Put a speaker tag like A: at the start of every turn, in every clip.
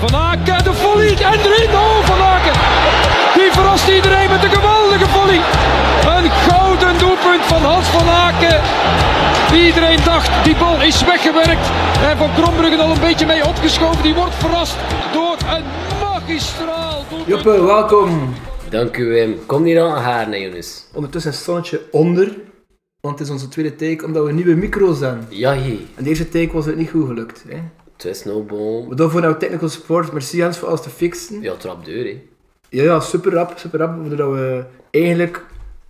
A: Van Aken, de volley en erin. Oh, Van Aken. Die verrast iedereen met een geweldige volley. Een gouden doelpunt van Hans van Aken. Iedereen dacht, die bal is weggewerkt. En Van Krombruggen al een beetje mee opgeschoven. Die wordt verrast door een magistraal doelpunt.
B: Joppe, welkom.
C: Dank u, Wim. Kom hier aan haar, nee, Jonas.
B: Ondertussen een zonnetje onder, want het is onze tweede take omdat we nieuwe micro's hebben.
C: Ja, hé.
B: En de eerste take was het niet goed gelukt. Hè?
C: Het is nou no boom.
B: Maar daarvoor hebben we nou technical support. Merci Jens voor alles te fixen.
C: Ja, trap deur, hè.
B: Ja, ja, super rap, super rap. Doordat we eigenlijk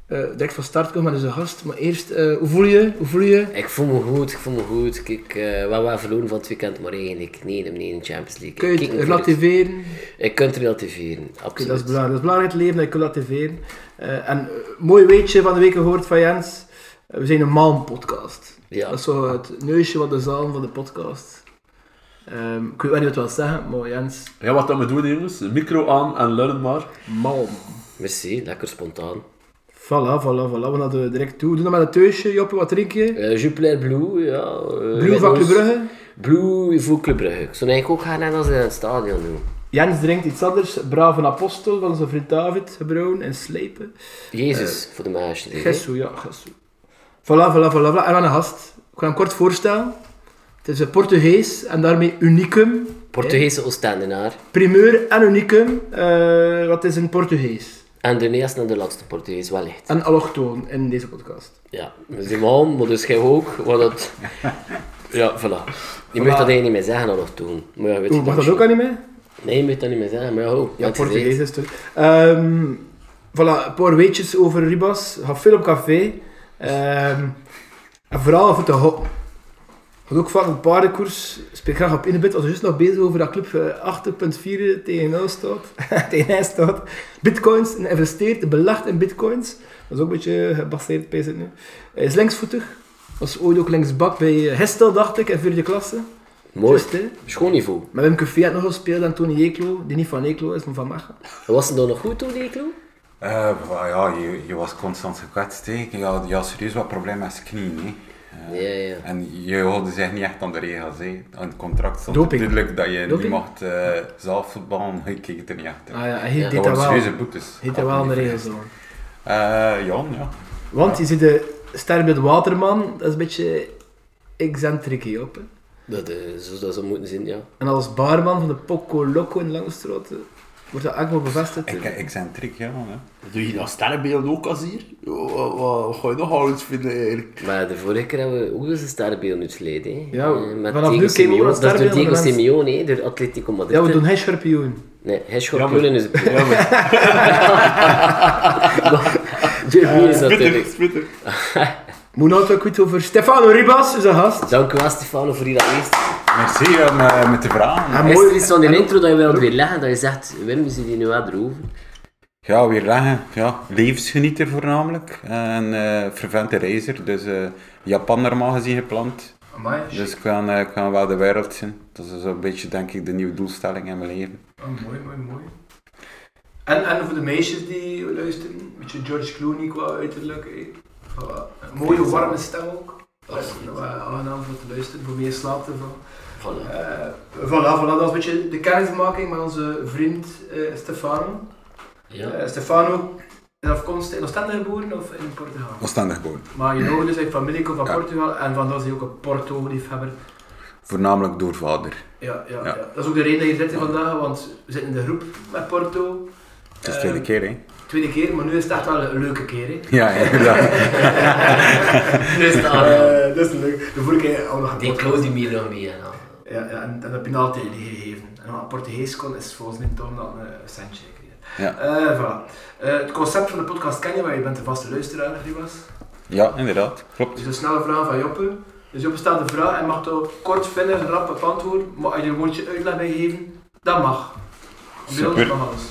B: eh, direct van start komen met onze gast. Maar eerst, eh, hoe voel je? Hoe voel je?
C: Ik voel me goed, ik voel me goed. Kijk, eh we hebben verloren van het weekend, maar eigenlijk nee, nee, nee, in de Champions League.
B: Kun je
C: Kijk
B: het
C: niet vooruit.
B: relativeren? Oké,
C: Ik kan het relativeren, absoluut.
B: dat is belangrijk. Dat is belangrijk in het leven, dat je kunt relativeren. Eh, en eh, mooi weetje van de week gehoord van Jens. Eh, we zijn een maalpodcast.
C: Ja.
B: Dat is zo het neusje wat de zalm van de podcast. Ehm, ik weet wel niet wat het wil zeggen, maar Jens,
D: Ja, wat dat we doen, jongens. Micro aan en lullen maar.
B: malm.
C: Merci, lekker spontaan.
B: Voilà, voilà, voilà. We hadden we direct toe. Doe dan maar een teusje, Joppe, wat drink je?
C: Eh Jupiler Blue, ja.
B: Blue
C: eh,
B: van
C: Reynolds.
B: Club Brugge.
C: Blue voor Club Brugge. Ik zou eigenlijk ook gaan net als in het stadion doen.
B: Jens drinkt iets anders. Brave Apostel van zijn vriend David, Brown en Slepen.
C: Jezus,
B: Eh,
C: voor de meisjes. hè.
B: Gesso, ja, Gesso. Voilà, voilà, voilà, voilà. En dan een gast. Ik ga hem kort voorstellen. Het is een Portugees en daarmee unicum.
C: Portugese Oostendenaar.
B: Primeur en unicum. Eh, wat is een Portugees?
C: En de eerste en de laatste Portugees, wellicht.
B: En allochtoon in deze podcast.
C: Ja, we zijn man, maar dus jij ook. Wat dat... Ja, voilà. Je mag dat eigenlijk niet meer zeggen al nog toen. Maar ja, weet
B: Oeh,
C: je
B: mag
C: dat
B: dat ook aan niet mee?
C: Nee, je moet dat niet meer zeggen, maar ja, oh,
B: Ja,
C: wat je
B: Portugees
C: zegt.
B: is het. Ehm voilà, een paar weetjes over Ribas. Ga veel op café. Ehm, en vooral voor de hop. Gaat ook van een paardenkoers. Spreek graag op Inbit. Was juist nog bezig over dat club eh, 8.4 tegen 0 staat. tegen 1 staat. Bitcoins en investeert, belegt in bitcoins. Dat is ook een beetje gebaseerd bij het nu. Hij is linksvoetig. Was ooit ook linksbak bij eh, Hestel, dacht ik, in vierde klasse.
C: Mooi.
B: Juist, hè.
C: Schoon niveau.
B: Maar Wimke Vee had nog gespeeld en Tony Eklo, die niet van Eklo is, maar van Mechelen.
C: Was het dan nog goed toen, die crew?
E: Eh, wa- ja, je, je was constant gekwetst. hè. Je had, je had serieus wat problemen met je knieën. hè. Eh,
C: Ja, ja.
E: En je hoorde zich niet echt aan de regels. hè. Aan het contract stond
B: Doping.
E: duidelijk dat je
B: Doping.
E: niet mocht eh, zelf voetballen. Je keek er niet achter.
B: Ah ja, hij
C: Ja,
B: deed
E: dat
B: dat
E: waren
B: wel.
E: serieuze
B: Hij
E: boetes.
B: deed dat wel aan de regels hoor.
E: Eh, ja, ja.
B: Want je ziet de Sterbeeld Waterman, dat is een beetje excentriek hier op. hè.
C: Dat is zoals dat zou moeten zijn, ja.
B: En als baarman van de Poco Loco in Langstraat eh, wordt dat eigenlijk wel bevestigd.
E: Ik, ik zijn trick, ja. man, hè.
D: Doe je dat sterrenbeeld ook als hier? Wat, wat ga je nog alles vinden eigenlijk?
C: Maar de vorige keer hebben we ook eens een sterrenbeeld uitgeleid, hè.
B: Ja,
C: Eh, met
B: vanaf nu
C: Diego
B: kijken we
C: Simeone.
B: naar
C: Dat is door
B: sterrenbeelden
C: Diego
B: van mensen.
C: Simeone, hè, door Atletico Madrid.
B: Ja, we doen geen schorpioen.
C: Nee, hij is schorpioen is het.
D: Ja, maar
C: Jeremy
B: Eh,
C: is
D: spitter,
C: natuurlijk.
D: spitter.
B: Moet nou ook iets over Stefano Ribas, is een gast.
C: Dank u wel, Stefano, voor hier dat eerst.
E: Merci eh, met- met de vragen.
B: En
C: Is
B: mooi-
C: er iets van de intro dat je wilt weer leggen, dat je zegt, Wim, we zien die nu wel erover.
E: Ja, weer leggen. Ja, levensgenieter voornamelijk. En eh, fervente reizer. Dus eh, Japan normaal gezien gepland.
B: Amai,
E: Dus ik kan, eh, ik kan wel de wereld zien. Dat is zo'n beetje, denk ik, de nieuwe doelstelling in mijn leven.
B: oh, mooi, mooi, mooi. En, en voor de meisjes die luisteren, een beetje George Clooney qua uiterlijk. hè. Voilà. Een mooie warme stem ook. Dat is wel aangenaam voor te luisteren, voor meer slaap ervan.
C: Voilà.
B: Eh, voilà, voilà, dat was een beetje de kennismaking met onze vriend eh, Stefano.
C: Ja.
B: Eh, Stefano is afkomstig in Oostende geboren of in Portugal?
E: Verstandig gewoon.
B: Maar je ouders zijn familie komt van
E: Ja.
B: Portugal en vandaar is hij ook een Porto-liefhebber.
E: Voornamelijk door vader.
B: Ja, ja, ja.
E: Ja.
B: dat is ook de reden dat je zit hier vandaag, want we zitten in de groep met Porto.
E: Het is de tweede
B: Ehm,
E: keer, hè?
B: Tweede keer, maar nu is het echt wel een leuke keer. Hè.
E: Ja, inderdaad.
B: Nu is het, eh, dat is leuk. De vorige keer hadden we nog een
C: Die
B: podcast.
C: Claudie Milo mee en al.
B: Ja, ja, en, en dat heb je nou altijd gegeven. En wat Portugees kon, is volgens mij toch dat een centje gekregen.
E: Ja.
B: Eh, voilà. Eh, het concept van de podcast ken je, maar je bent een vaste luisteraar, was.
E: ja, inderdaad. Klopt.
B: Dus een snelle vraag van Joppe. Dus Joppe stelt een vraag en mag daar kort, vinnig, rap op antwoorden. Maar als je er een woordje uitleg bij geven, dat mag. Beeld
E: Super.
B: van alles.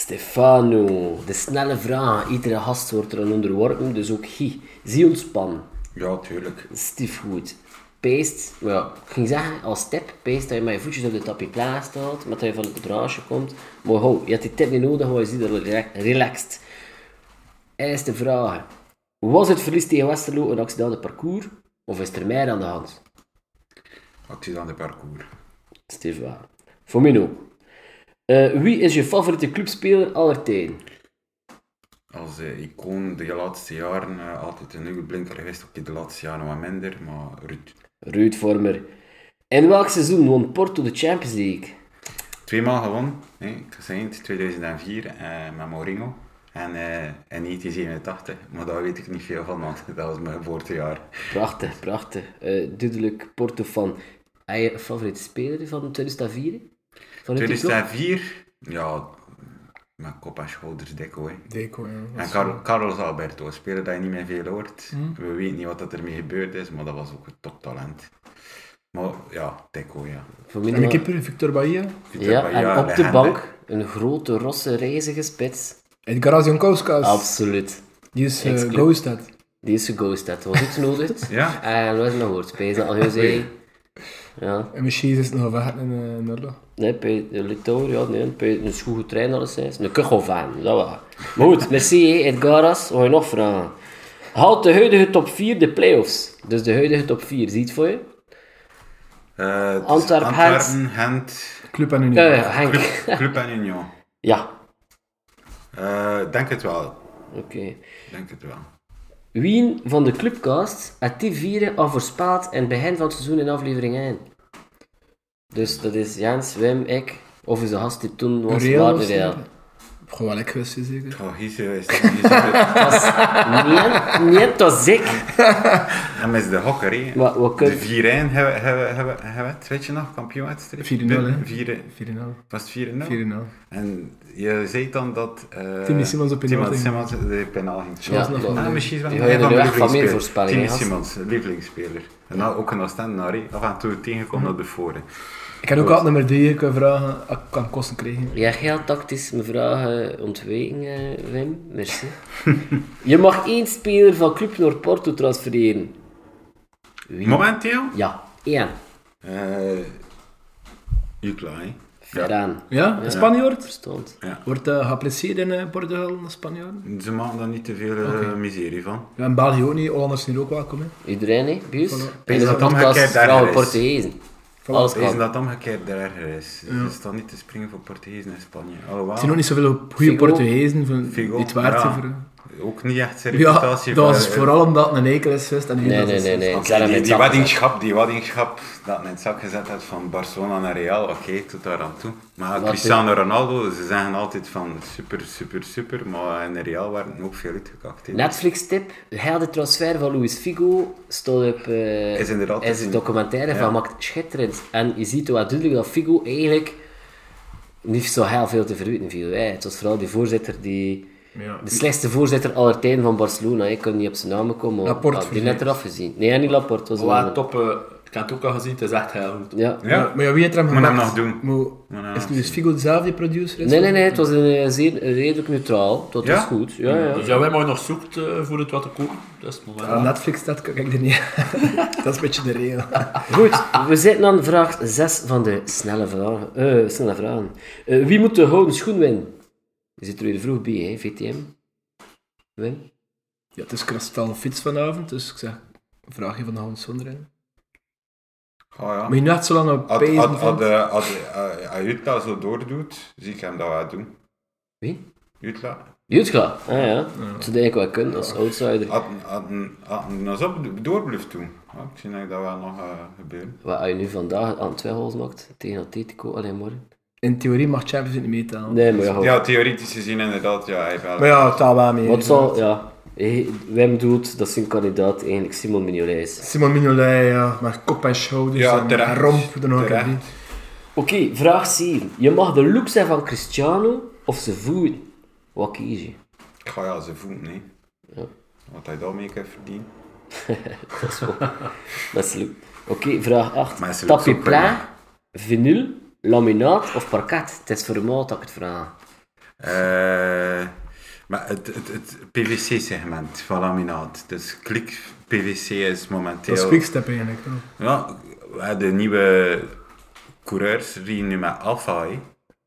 C: Stefano, de snelle vraag. Iedere gast wordt er aan onderworpen, dus ook hij. Zie ontspan.
E: Ja, tuurlijk.
C: Stiefgoed. Peest, maar ja, ik ging zeggen als tip, peest dat je met je voetjes op de tapijt staat, maar dat je van het draasje komt. Maar ho, je hebt die tip niet nodig, want je ziet er rela- relaxed. Eerste vraag. Was het verlies tegen Westerlo een accidente parcours? Of is er meer aan de hand?
E: Actie aan de parcours.
C: Steve Waal. Voor mij ook. Eh, wie is je favoriete clubspeler aller tijden?
E: Als eh, icoon de laatste jaren eh, altijd een nieuwe blinker geweest. Oké, de laatste jaren wat minder, maar Ruud.
C: Ruud Vormer. In welk seizoen won Porto de Champions League?
E: Tweemaal gewonnen. Nee, ik zei het, 2004 eh, met Mourinho. En eh, in 1987, maar daar weet ik niet veel van, want dat was mijn geboortejaar.
C: Prachtig, prachtig. Eh, duidelijk Porto van. Heb je een favoriete speler van 2004? Van die ploeg?
E: 2004, ja, mijn kop en schouders dik hoor.
B: Deco, ja.
E: En Car- Carlos Alberto, een speler dat je niet meer veel hoort.
B: Hmm.
E: We weten niet wat dat ermee gebeurd is, maar dat was ook een toptalent. Maar ja, Deco, ja.
C: Voor mij
B: En de
C: nog-
B: keeper, Victor Bahia.
C: Ja, en op de
E: legende.
C: bank een grote, rosse, reizige spits.
B: Edgar Jankowskas.
C: Absoluut.
B: Die is
C: Ex-club.
B: eh ghost dat.
C: Die is geghost, dat was iets nodig.
E: Ja.
C: En wat is mijn hoorspijs? Al heel zei. Ja,
B: En misschien is het nog weg in eh, Norda.
C: nee, bij de Litouwer, ja, nee, bij een goede trein, alleszins. Een kuchelvaan, dat wel. Maar goed, merci, hè, Edgaras, wat je nog vragen? Haalt de huidige top 4 de play-offs? Dus de huidige top 4, ziet voor je?
E: Eh, het is
C: Antwerp,
E: Antwerpen, Gent,
B: Club en Unie.
C: Eh, Henk.
E: Club, Club en Union.
C: Ja,
E: Eh, denk het wel,
C: oké.
E: denk het wel.
C: Wie van de clubcast had die vieren al voorspeld in het begin van het seizoen in aflevering 1? Dus dat is Jens, Wim, ik, of is de gast die toen was,
B: Real
C: Maarten
B: was
C: Real.
B: het. Gewoon wel lekker geweest, zeker.
E: Oh, hier is het.
C: Nee, nee, dat is ik.
E: Dat is de hokker, hè.
C: Maar we
E: De
C: kunnen...
E: 4-1 hebben hebben- hebben- hebben het, weet je nog, kampioenwedstrijd?
B: 4-0, hè.
E: 4
B: 4,5.
E: Was het 4-0?
B: 4,5.
E: En je zei dan dat... eh
B: Timmy Simons de penalty
E: Timmy
B: ging.
E: Simons de penal ging
C: Ja,
E: slaan.
C: klopt.
E: Ah, misschien wel
C: Die
E: een
C: ga je
E: van
C: er
E: mijn
C: echt van meer
E: lievelingsspeler.
C: voorspellen,
E: Timmy
C: hè, gast?
E: Simons, lievelingsspeler. En dan ook een Oostendenaar, hè. af en toe tegenkomen
C: Mhm.
E: op de foren.
B: Ik heb ook altijd nummer 3 kunnen vragen. ah, Ik kan kosten krijgen.
C: Ja, heel tactisch mijn vragen ontwijken, eh, Wim. Merci. Je mag één speler van Club Noord Porto transfereren. Wie?
E: Momenteel?
C: Ja, één.
E: Eh Jukla, hè.
C: Veraan.
B: Ja, een Spanjaard?
C: Verstand.
B: Wordt eh, geapprecieerd in eh, Portugal, een Spanjaard?
E: Ze maken daar niet te veel eh, miserie van.
B: Ja, in België ook niet. Hollanders zijn hier ook welkom, hè.
C: Iedereen, hè? Bius? In
E: Is
C: de
E: dat
C: podcast
E: omgekeerd daar
C: vrouwen
E: is?
C: Portugezen. Alles
E: Is
C: kan.
E: dat omgekeerd er erger is? Ze staan niet te springen voor Portugezen en Spanje. Alhoewel,
B: Er zijn ook niet zoveel goede
C: Figo.
B: Portugezen van,
E: Figo,
B: die het waard zijn
E: Ah. ja.
B: voor... eh.
E: ook niet echt zijn
B: Ja, dat
E: reputatie
B: was
E: voor- eh,
B: vooral omdat het een eikel is geweest en nu
C: Nee,
B: dat
C: nee,
B: is
C: nee,
B: geweest.
C: nee.
E: Oké,
C: Zet hem in
E: die,
C: het
E: die
C: zak.
E: weddingschap, die weddingschap dat in het zak gezet had van Barcelona naar Real, oké, tot daar aan toe. Maar
C: Wat
E: Cristiano Ronaldo, ze zeggen altijd van super, super, super, maar in Real waren ook veel uitgekakt. hè.
C: Netflix tip, heel de transfer van Luis Figo stond op eh,
E: Is inderdaad
C: is
E: te
C: een
E: zien.
C: documentaire van maakt schitterend. En je ziet wel duidelijk dat Figo eigenlijk niet zo heel veel te verwijten viel. hè. Het was vooral die voorzitter die
B: Ja.
C: de slechtste voorzitter aller tijden van Barcelona. hè. Ik kon niet op zijn naam komen. maar
B: Laporte
C: ik had die net
B: vergeet.
C: eraf gezien. Nee, niet Laporte. Het Was een
D: Wat
C: ander.
D: top. eh, Ik heb het ook al gezien, het is echt heel goed.
C: Ja.
E: Ja,
B: Maar ja, wie heeft er hem
E: Moet hem
B: gemaakt?
E: nog doen.
B: Moet-
E: Moet hem
B: Is
E: nog
B: Luis Figo zelf die producer? Is
C: Nee, nee, nee. Het was een, eh, zeer een redelijk neutraal. Dat
E: Ja?
C: was goed. Ja, ja.
D: Dus ja, wij mogen nog zoekt eh, voor het wat te kopen. Dat is nog wel.
B: Aan Ah, Netflix dat kijk ik er niet Dat is een beetje de regel.
C: Goed, we zitten aan vraag 6 van de snelle vragen. Eh, snelle vragen. Eh, wie moet de gouden schoen winnen? Je zit er weer vroeg bij, hè, VTM. Win.
B: Ja, het is kristal fiets vanavond, dus ik zeg, vraag je van de hand zonder in.
E: Oh, ja.
B: Moet je nu echt zo lang op
E: Als-
B: pezen
E: als- Als
B: van?
E: eh, als, eh, Ayutla zo doordoet, zie ik hem dat wel doen.
C: Wie?
E: Ayutla?
C: Jutka. Ah ja, dat zou ik wel kunnen als outsider.
E: Had hij ons op door blijft doen. Ja, ik zie dat dat wel nog eh, gebeuren.
C: Wat als je nu vandaag aan twee goals maakt tegen Atletico, alleen morgen?
B: In theorie mag Champions League niet meetellen.
C: Nee, maar ja, goed.
E: Ja, theoretisch gezien inderdaad, ja, hij heeft wel-
B: Maar ja, het gaat wel mee.
C: Wat zal, ja. Hey, Wim doet, dat is een kandidaat eigenlijk, Simon Mignolet.
B: Simon Mignolet, ja, maar kop en schouders
E: Ja,
B: en
E: terecht.
B: romp er nog een keer
E: Terecht.
B: bij.
C: Oké, vraag 7. Je mag de look zijn van Cristiano of zijn voeten. Wat kies je?
E: Ga ja, zijn voeten, hè. Wat hij daarmee kan verdienen.
C: Dat is wel- dat is leuk. Oké, vraag 8.
E: Maar is er ook
C: Tapis
E: zo
C: plat, vinyl, laminaat of parket? Het is voor maat dat ik het vraag.
E: Eh, maar het, het, het PVC-segment van laminaat. Dus klik PVC is momenteel...
B: Dat is quickstep eigenlijk. ja.
E: Ja, we hadden nieuwe coureurs die nu met Alpha, hè.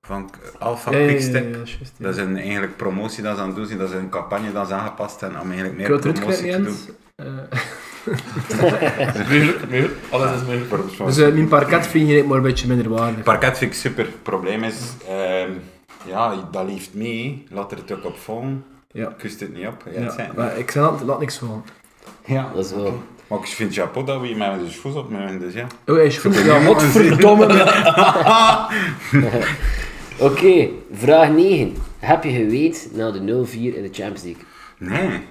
E: Van K- Alpha
B: Ja, ja, ja,
E: Quickstep.
B: ja, dat is juist, ja.
E: Dat is een eigenlijk promotie dat ze aan het doen zijn. Dat is een campagne dat ze aangepast hebben om eigenlijk
B: Ik
E: meer
B: wil het eruit
E: promotie te
B: knippen,
E: doen.
B: Jens. Eh,
D: Muur, muur. Alles is muur.
B: Dus eh, mijn parket vind je maar een beetje minder waardig.
E: Parket vind ik super. Het probleem is, ehm, ja, dat leeft mee. Laat er het ook op vallen.
B: Ja.
E: Kust het niet op. Ja, het
B: Ja,
E: zijn-
B: maar ik zeg altijd, laat niks van.
E: ja.
C: Dat is wel...
E: Maar ik vind Japot dat we hier met de schoes op moeten, dus ja.
B: Oh, hij is goed. Ja,
E: Ja,
B: wat voor...
C: Domme! Oké, vraag 9. Heb je geweten na de 0-4 in de Champions League?
E: Nee.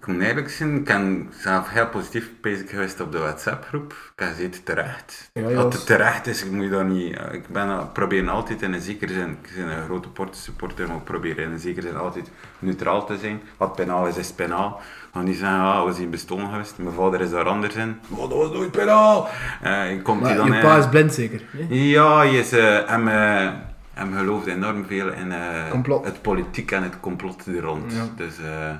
E: Ik moet eerlijk zijn, ik ben zelf heel positief bezig geweest op de WhatsApp-groep. Ik heb gezeten terecht.
B: Ja, ja,
E: Als
B: als-
E: het terecht is, ik moet dat niet... eh, Ik ben, al- probeer altijd in een zekere zin... Ik ben een grote supporter, maar ik probeer in een zekere zin altijd neutraal te zijn. Wat penaal is, is penaal. Dan niet zeggen, ah, was hier bestolen geweest. Mijn vader is daar anders in. Oh, dat was nooit penaal! Eh, en komt hij
B: Maar
E: dan...
B: je
E: eh,
B: pa is blind zeker. hè?
E: ja, hij is, eh, hem, eh, hem gelooft enorm veel in eh,
B: Complot.
E: het politiek en het complot er rond.
B: Ja.
E: Dus, eh,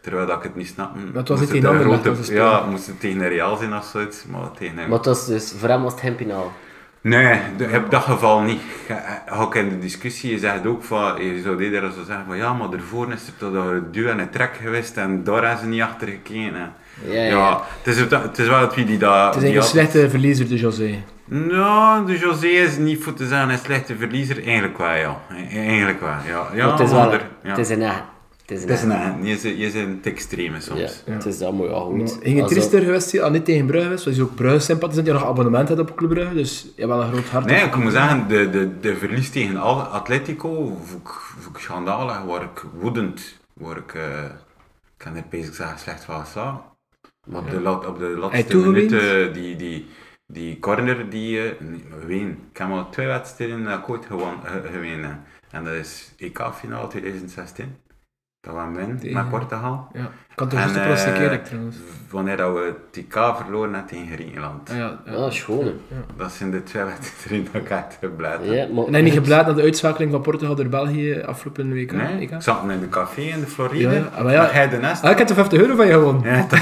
E: terwijl dat ik het niet snap. Maar
B: het was niet tegen Anderlecht dat ze
E: Ja,
B: speelden.
E: moest het tegen een Real zijn of zoiets. Maar tegen hem.
C: Maar het was dus, voor hem was het hem finaal.
E: Nee, de- in dat geval niet. Je- je- Ook in de discussie, je zegt ook van, je zou eerder zo zeggen van ja, maar daarvoor is er toch wel een duw en een trek geweest en daar zijn ze niet achter gekeken. hè.
C: Ja, ja.
E: het, is, het- het is wel het wie die dat...
B: Het is
E: die
B: eigenlijk een
E: altijd-
B: slechte verliezer, de José.
E: nou, de José is niet voor te zeggen een slechte verliezer. Eigenlijk wel, ja. E- Eigenlijk wel, ja. ja
C: Maar het is wel...
E: maar er- ja.
C: Het is een eigen. Het is een
E: Het is
C: eigen.
E: een... Je zit- je zit in het extreme soms.
C: Ja, het is allemaal ja, goed.
B: Hing het
C: Als dat-
B: triester geweest zijn, al niet tegen Brugge geweest, was hij ook Brugge-sympathisant, die nog abonnement had op Club Brugge, dus je hebt wel een groot hart.
E: Nee, ik moet zeggen, de, de, de verlies tegen Al- Atletico vond ik, vond ik schandalig. Word ik woedend. Word ik... eh, ik kan er bezig zeggen slecht van staan. Maar op de, lat- op de laatste
B: toegeweend?
E: minuten, die, die, die corner die... eh nee, maar ween. Ik heb maar twee wedstrijden dat ik ooit gewon- eh, gewonnen heb. En dat is E EK-finale 2016. Dat was win
B: Tegen-
E: met Portugal.
B: Ja, ik kan toch
E: En,
B: juist de laatste
E: eh,
B: keer dat ik trouwens.
E: Wanneer dat we het EK verloren hebben tegen Griekenland.
B: Ah, ja, ja.
C: Ah, schone.
E: Dat zijn de twee wedstrijden dat ik echt heb blijven.
C: Ja, maar...
B: En heb je niet geblaad naar de uitschakeling van Portugal door België afgelopen week? hè?
E: Nee,
B: EK?
E: ik zat in de café in de Floride.
B: Ja, ja, maar ja.
E: Hij de nest.
B: Ah, ik heb de 50 euro van je gewonnen.
E: Ja, dat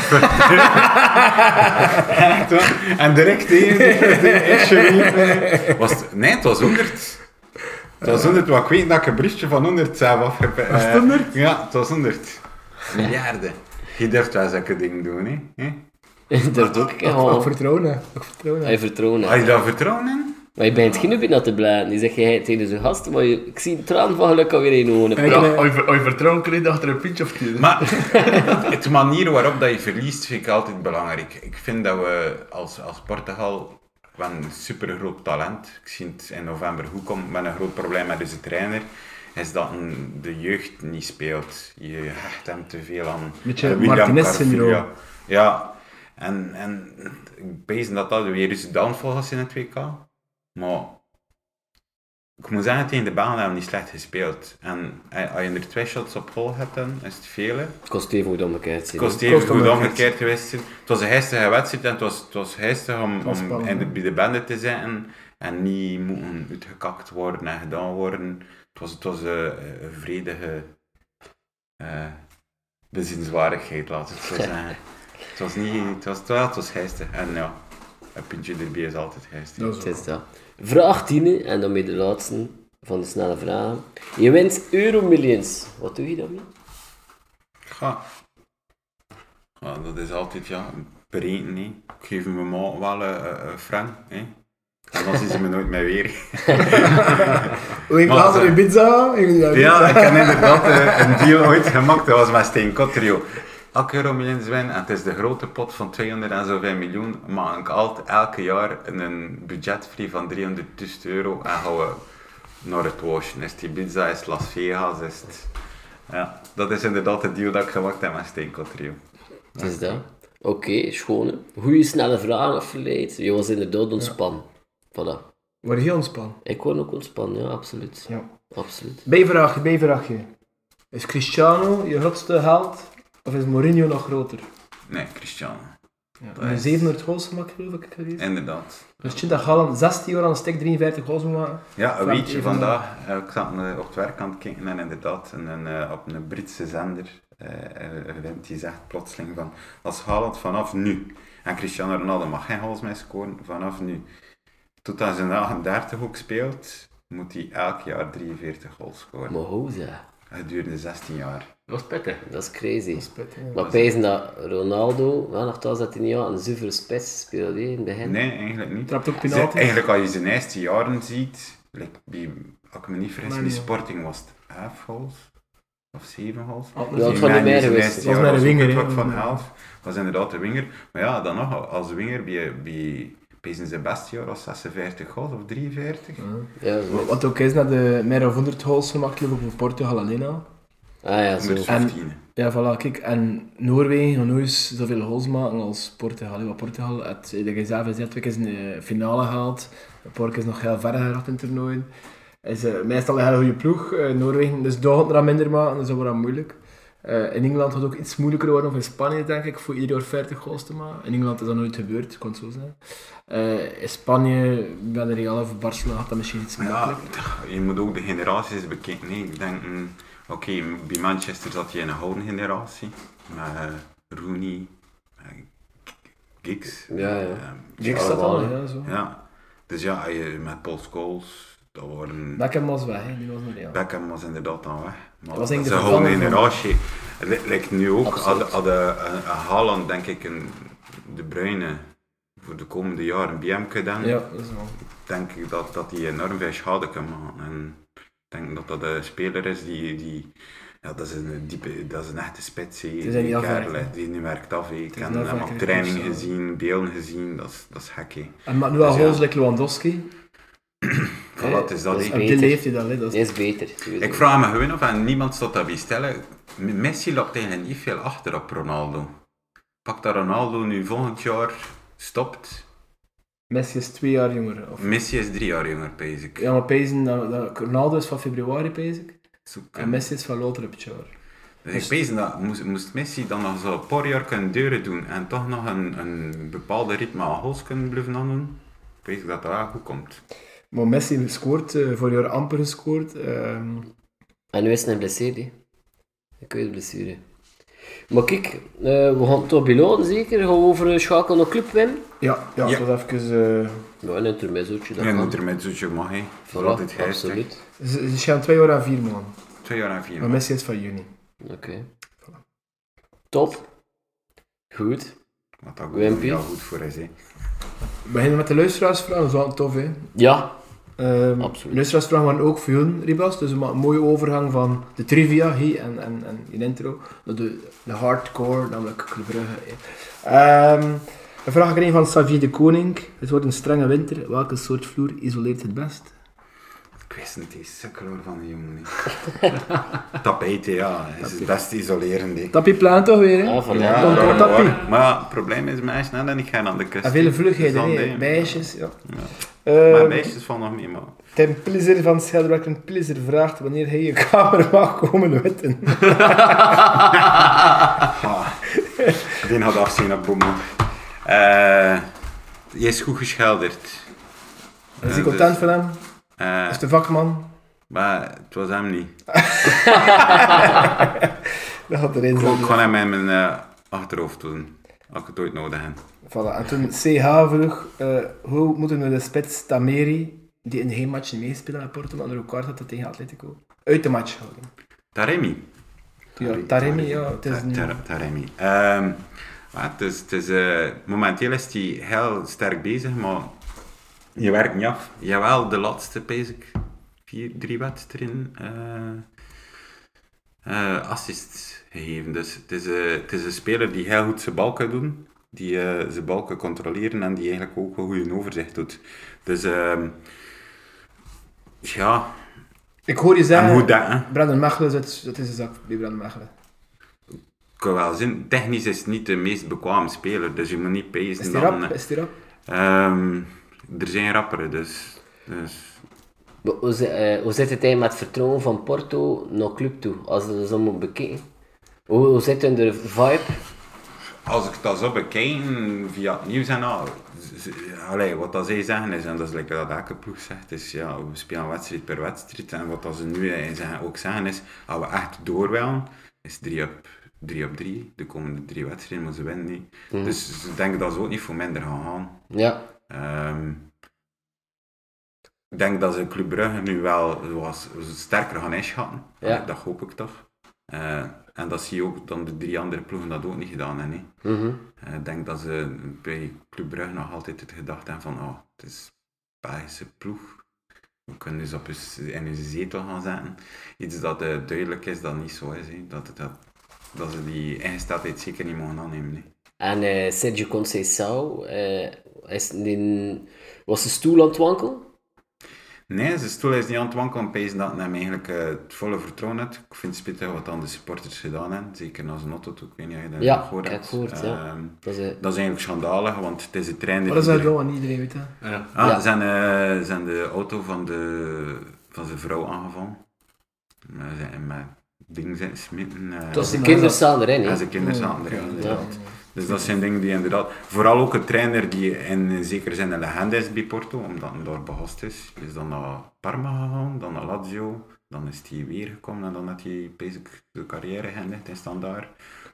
E: Echt hoor. En direct tegen de eerste eh. was het- Nee, het was 100. Het was 100, want ik weet dat ik een briefje van 100 zelf afgepakt. Was het 100? Ja, het was 100. Miljarden. Je durft wel zulke dingen doen, hè? hè?
C: dat doe ik
B: Ik
C: al.
B: vertrouw hè. Ik vertrouw hè.
C: Hij vertrouwen.
E: Had je daar vertrouwen in?
C: Maar je bent geen binnen te bladen. Die zeg je tegen zijn gasten, maar je, ik zie een traan van geluk alweer in je ogen.
B: Ik,
D: Ja,
B: eh,
D: als je ver- als je vertrouwen krijgt achter een pintje of tien.
E: Maar het manier waarop dat je verliest vind ik altijd belangrijk. Ik vind dat we als, als Portugal we hebben een super groot talent. Ik zie het in november goed komen. Met een groot probleem met onze trainer is dat een- de jeugd niet speelt. Je hecht hem te veel aan.
B: Beetje
E: aan William
B: Martinez-syndroom.
E: Carvalho. Ja, en, en ik bezig dat dat weer eens de downfall was in het WK. Maar ik moet zeggen, tegen de Belgen hebben we niet slecht gespeeld. En eh, als je er twee shots op goal hebt, dan is het vele.
C: Het kost even goed om elkaar te zien.
E: Het kost even
B: kost
E: goed
B: omgekeerd.
E: omgekeerd geweest zijn. Het was een heistige wedstrijd en het was, het was heistig om,
B: was
E: om
B: spannend,
E: in de,
B: hè?
E: bij de bende te zitten en niet moeten uitgekakt worden en gedaan worden. Het was, het was een, een vredige eh bezienswaardigheid, laat ik het zo zeggen. het was niet... Het was, ja, het was heistig. En ja, een puntje erbij is altijd heistig.
B: Dat is
C: Het is dat. Vraag 10, en dan weer de laatste van de snelle vragen. Je wint Euromillions. Wat doe je daarmee?
E: Ja. Ja, dat is altijd, ja, bereken, hè. Ik geef mijn ma wel een, een, een frank, hè. En dan zien ze me nooit meer weer.
B: Hoe ik
E: Maar,
B: later
E: eh,
B: in pizza? Ik wil jou
E: Ja,
B: pizza.
E: ik heb inderdaad eh, een deal ooit gemaakt. Dat was met Steen Kotrio. Elke euro miljoen winnen, en het is de grote pot van 200 en zoveel miljoen, maar ik altijd elke jaar een budgetvrij van 300.000 euro en gaan we naar het Washington. Is het Ibiza, is het Las Vegas, is het... Ja, dat is inderdaad de deal dat ik gemaakt heb met Steen Kotrio.
C: Het is dat. Oké, schone. Goeie snelle vragen afgeleid. Je was inderdaad ontspannen. Voilà.
B: Word heel ontspannen.
C: Ik word ook ontspannen, ja, absoluut.
B: Ja.
C: Absoluut.
B: Bijvraagje, bijvraagje. Is Cristiano je grootste held? Of is Mourinho nog groter?
E: Nee, Christian.
B: Met 700 goals gemaakt geloof ik. geweest.
E: Inderdaad.
B: Dus Chinda Gallen, 16 jaar aan een stek 53 goals moet maken.
E: Ja,
B: Frank,
E: weet je,
B: even-
E: vandaag, eh, ik zat eh, op het werk aan het kijken en inderdaad, een, een, eh, op een Britse zender, eh, eh, wint die zegt plotseling van, als Haaland vanaf nu, en Cristiano Ronaldo mag geen goals meer scoren, vanaf nu, tot als hij een 38 ook speelt, moet hij elk jaar 43 goals scoren.
C: Maar hoe zeg?
E: gedurende 16 jaar.
C: Dat is pittig. Dat is crazy. Dat is
B: pittig,
C: Maar pijzen dat Ronaldo, wel nogthans dat hij niet al een zuivere spits speelde hè, in het begin.
E: Nee, eigenlijk niet.
B: Trapt ook
E: Ze-
B: penalty.
E: Eigenlijk als je zijn eerste jaren ziet, like, bij, als ik me niet vergis,
B: Maar
E: bij
B: ja.
E: Sporting was het half goals of zeven goals.
C: Ja, het van de
E: Mijn
C: meer
E: zijn
C: geweest.
E: eerste
B: was
E: jaar
B: maar een
E: ook
B: winger,
E: het
B: hè.
E: vak van half was inderdaad de winger. Maar ja, dan nog als winger bij, bij, bij zijn Sebastian was 56 goals of 43.
C: Ja, zo. Ah,
B: Wat ook is, naar de meer dan 100 goals gemaakt Liverpool voor Portugal alleen al.
C: Ah ja, zo.
E: Met
B: En-
E: 15.
B: Ja, voilà, kijk. En Noorwegen gaat nooit zoveel goals maken als Portugal. hè. Want Portugal had eh, de Gezave zet twee keer in de finale gehaald. Een paar keer is nog heel ver geraakt in toernooien. Is eh, meestal een hele goede ploeg. Eh, Noorwegen, dus daar gaat het eraan minder maken, dus dat wordt dan moeilijk. Eh, in Engeland gaat het ook iets moeilijker worden, of in Spanje denk ik, voor ieder jaar 40 goals te maken. In Engeland is dat nooit gebeurd, kan het zo zijn. Eh, in Spanje, bij de Real of Barcelona gaat dat misschien iets
E: Maar Ja,
B: makkelijker.
E: je moet ook de generaties bekijken. hè. Ik denk, mm, oké, bij Manchester zat je in een gouden generatie. Maar eh, Rooney, eh, Giggs.
C: Ja, ja.
E: eh,
B: Ik
C: Ja,
B: zat al,
C: wel,
B: ja, zo.
E: ja. Dus ja, je- met Paul Scholes, dat worden...
B: Beckham was weg, hè, die was naar Real.
E: Beckham was inderdaad dan weg.
B: was
E: Maar dat is
B: eigenlijk de
E: gewoon een
B: vervanger van-
E: generatie. Li- Lijkt nu ook,
C: Absoluut.
E: hadden hadden, eh, eh, Haaland denk ik een, de Bruyne voor de komende jaren bij hem gedaan,
B: Ja, dat is wel.
E: denk ik dat, dat die enorm veel schade kan maken. En ik denk dat dat een speler is die, die ja, dat is een diepe, dat is een echte spits, hè.
B: is
E: die
B: een afwerker.
E: kerel, hè. die nu werkt af. hè. Ik
B: is
E: heb
B: een
E: hem op
B: afwerker,
E: training
B: dus, ja.
E: gezien, beelden gezien, dat is, dat is gek hè.
B: En maakt nu wel
E: Dus ja.
B: goals like Lewandowski.
E: Voilà, het is dat,
C: dat is
E: hè.
B: Op die
C: Beter.
B: leeftijd al, hè, dat
C: Dat
B: is...
C: is beter. sowieso.
E: Ik vraag me gewoon af, en niemand staat daarbij stellen. M- Messi loopt eigenlijk niet veel achter op Ronaldo. Pak dat Ronaldo nu volgend jaar stopt.
B: Messi is twee jaar jonger. Of...
E: Messi is drie jaar jonger, pees ik.
B: Ja, maar Pezen, dat, dat, Ronaldo is van februari, pees ik.
E: Zoek hem.
B: En Messi is van later op het jaar.
E: Dus ik pees dat moest, moest Messi dan nog zo'n paar jaar kunnen deuren doen en toch nog een, een bepaalde ritme aan goals kunnen blijven aan doen. Ik pees dat dat wel goed komt.
B: Maar Messi scoort, eh voor jaar amper gescoord. ehm.
C: En Ah, nu is hij geblesseerd, hè. Ik weet de blessure. Maar kijk, eh, we gaan het toch belonen, zeker. Gaan we over schakelen naar Club Wim?
B: ja, ja,
E: Ja.
B: het was even... eh,
C: Ja, een intermezzootje, dat
E: En
C: kan.
E: moet er met zoetje mag hè. Voor altijd
C: Voilà,
E: geestig.
C: absoluut.
B: Ze ze schijnen twee jaar en vier maanden.
E: Twee jaar en vier.
B: Maar
E: maanden.
B: Messi is van juni.
C: Oké. Top. Goed.
E: Wat dat goed,
C: Wimpy.
E: ja, goed voor is hè.
B: We beginnen met de luisteraarsvragen, dat is wel tof, hè.
C: Ja,
B: Ehm,
C: Absoluut.
B: Luisteraarsvragen waren ook voor hun, Ribas. Dus een ma- mooie overgang van de trivia hier en, en, en in de intro naar de, de hardcore, namelijk Club Brugge. hè. Ehm, een vraag kreeg van Xavier de Koning. Het wordt een strenge winter. Welke soort vloer isoleert het best?
E: Ik wist niet die sukkeloor van de jongen. hè. Tapijten, ja. is het best isolerend. hè.
B: Tapie plaan toch weer, hè?
C: ah, voilà.
E: Oh, Ja,
B: Komt
E: dat
B: door
E: is
B: tapie.
E: waar. Maar ja, het probleem is meisjes nou, dan ik ga aan de kust.
B: En vele
E: Dus
B: vlugheden,
E: dan
B: hè?
E: deed-
B: Meisjes, ja.
E: Ja. Maar
B: Ehm,
E: meisjes vallen nog mee, maar...
B: Ten Plezier van Schelderwerk en Plezier vraagt wanneer hij je kamer mag komen witten.
E: Ah, die had afzien op Boemo. Eh je is goed geschilderd.
B: Is
E: Ja,
B: hij content
E: dus-
B: van hem?
E: Eh,
B: Is de vakman?
E: maar het was hem niet.
B: Dat gaat erin
E: Ik
B: zijn.
E: kon hem in mijn eh, achterhoofd doen. Als ik het ooit nodig heb.
B: Voilà. En toen CH vroeg, eh, hoe moeten we de spits Tameri, die in geen match meespeelde met Porto, maar onder elkaar had dat tegen Atletico, uit de match houden?
E: Taremi.
B: Ja, Taremi, ja, het is
E: Ta-
B: een...
E: Tar- Taremi. Ehm, ja, het is, het is, eh, momenteel is hij heel sterk bezig, maar je werkt niet af. Jawel, de laatste, basic. Vier, drie wedstrijden eh, eh, assist gegeven. Dus het is, eh, het is een speler die heel goed zijn bal kan doen, die eh, zijn bal kan controleren en die eigenlijk ook een goede overzicht doet. Dus ehm, ja,
B: Ik hoor je
E: en
B: zeggen,
E: hoe dat, hè?
B: Brandon Mechelen, dat, dat is een zak bij Brandon Mechelen.
E: Ik kan wel zien, technisch is het niet de meest bekwame speler, dus je moet niet
B: Is
E: pezen
B: die
E: dan...
B: rap?
E: eh,
B: Is die rap?
E: Ehm, er zijn rapperen, dus... dus
C: Maar Hoe, zi- eh, hoe zit het eigenlijk met het vertrouwen van Porto naar club toe? Als je dat zo moet bekijken. Hoe, hoe zit hun de vibe?
E: als ik dat zo bekijk via het nieuws en al... z- z- Allee, wat dat zij zeggen is, en dat is lekker dat elke ploeg zegt, is ja, we spelen wedstrijd per wedstrijd. En wat dat ze nu eh, zeggen, ook zeggen is, als we echt door willen, is 3 op 3 op 3. De komende drie wedstrijden moeten ze winnen. niet. Dus ik denk dat ze ook niet voor minder gaan gaan.
C: Ja,
E: Ehm, Ik denk dat ze Club Brugge nu wel zoals, sterker gaan inschatten.
C: Ja.
E: Dat hoop ik toch. Eh, en dat zie je ook dan de drie andere ploegen dat ook niet gedaan hebben. hè.
C: Mhm.
E: Eh, ik denk dat ze bij Club Brugge nog altijd het gedacht hebben van oh, het is een Belgische ploeg. We kunnen dus op hun, z- in hun zetel gaan zetten. Iets dat eh, duidelijk is dat niet zo is. hè. Dat, het- dat, dat ze die ingesteldheid zeker niet mogen aannemen. hè.
C: En eh, Sergio Conceição eh, is in, was de stoel aan het wankelen.
E: Nee, zijn stoel is niet aan het wankelen. Pees dat hij hem eigenlijk eh, het volle vertrouwen had. Ik vind het spittig wat dan de supporters gedaan hebben. Zeker als een auto toe. Ik weet niet of je dat
C: Ja,
E: nog gehoord
C: ik heb
E: hebt.
C: gehoord, ja.
E: Ehm,
C: Dat is, eh,
E: Dat is eigenlijk schandalig, want het is de trein... die
B: Maar dat zou
E: iedereen-
B: je wel aan iedereen weten. hè.
D: Ja.
E: Ah,
C: Ja.
E: zijn, eh, zijn de auto van, de, van zijn vrouw aangevallen. Maar zijn en met dingen zijn smitten. eh,
B: Dat is
C: de
B: een-
C: kinderen staan erin. hè.
E: en zijn kinderen
B: Ja.
E: zaten erin,
B: Ja.
E: inderdaad. Dus dat zijn dingen die inderdaad... Vooral ook een trainer die in zekere zin een legende is bij Porto, omdat hij daar behost is. Is dan naar Parma gegaan, dan naar Lazio. Dan is hij weer gekomen en dan had hij basic de carrière geëindigd in standaard.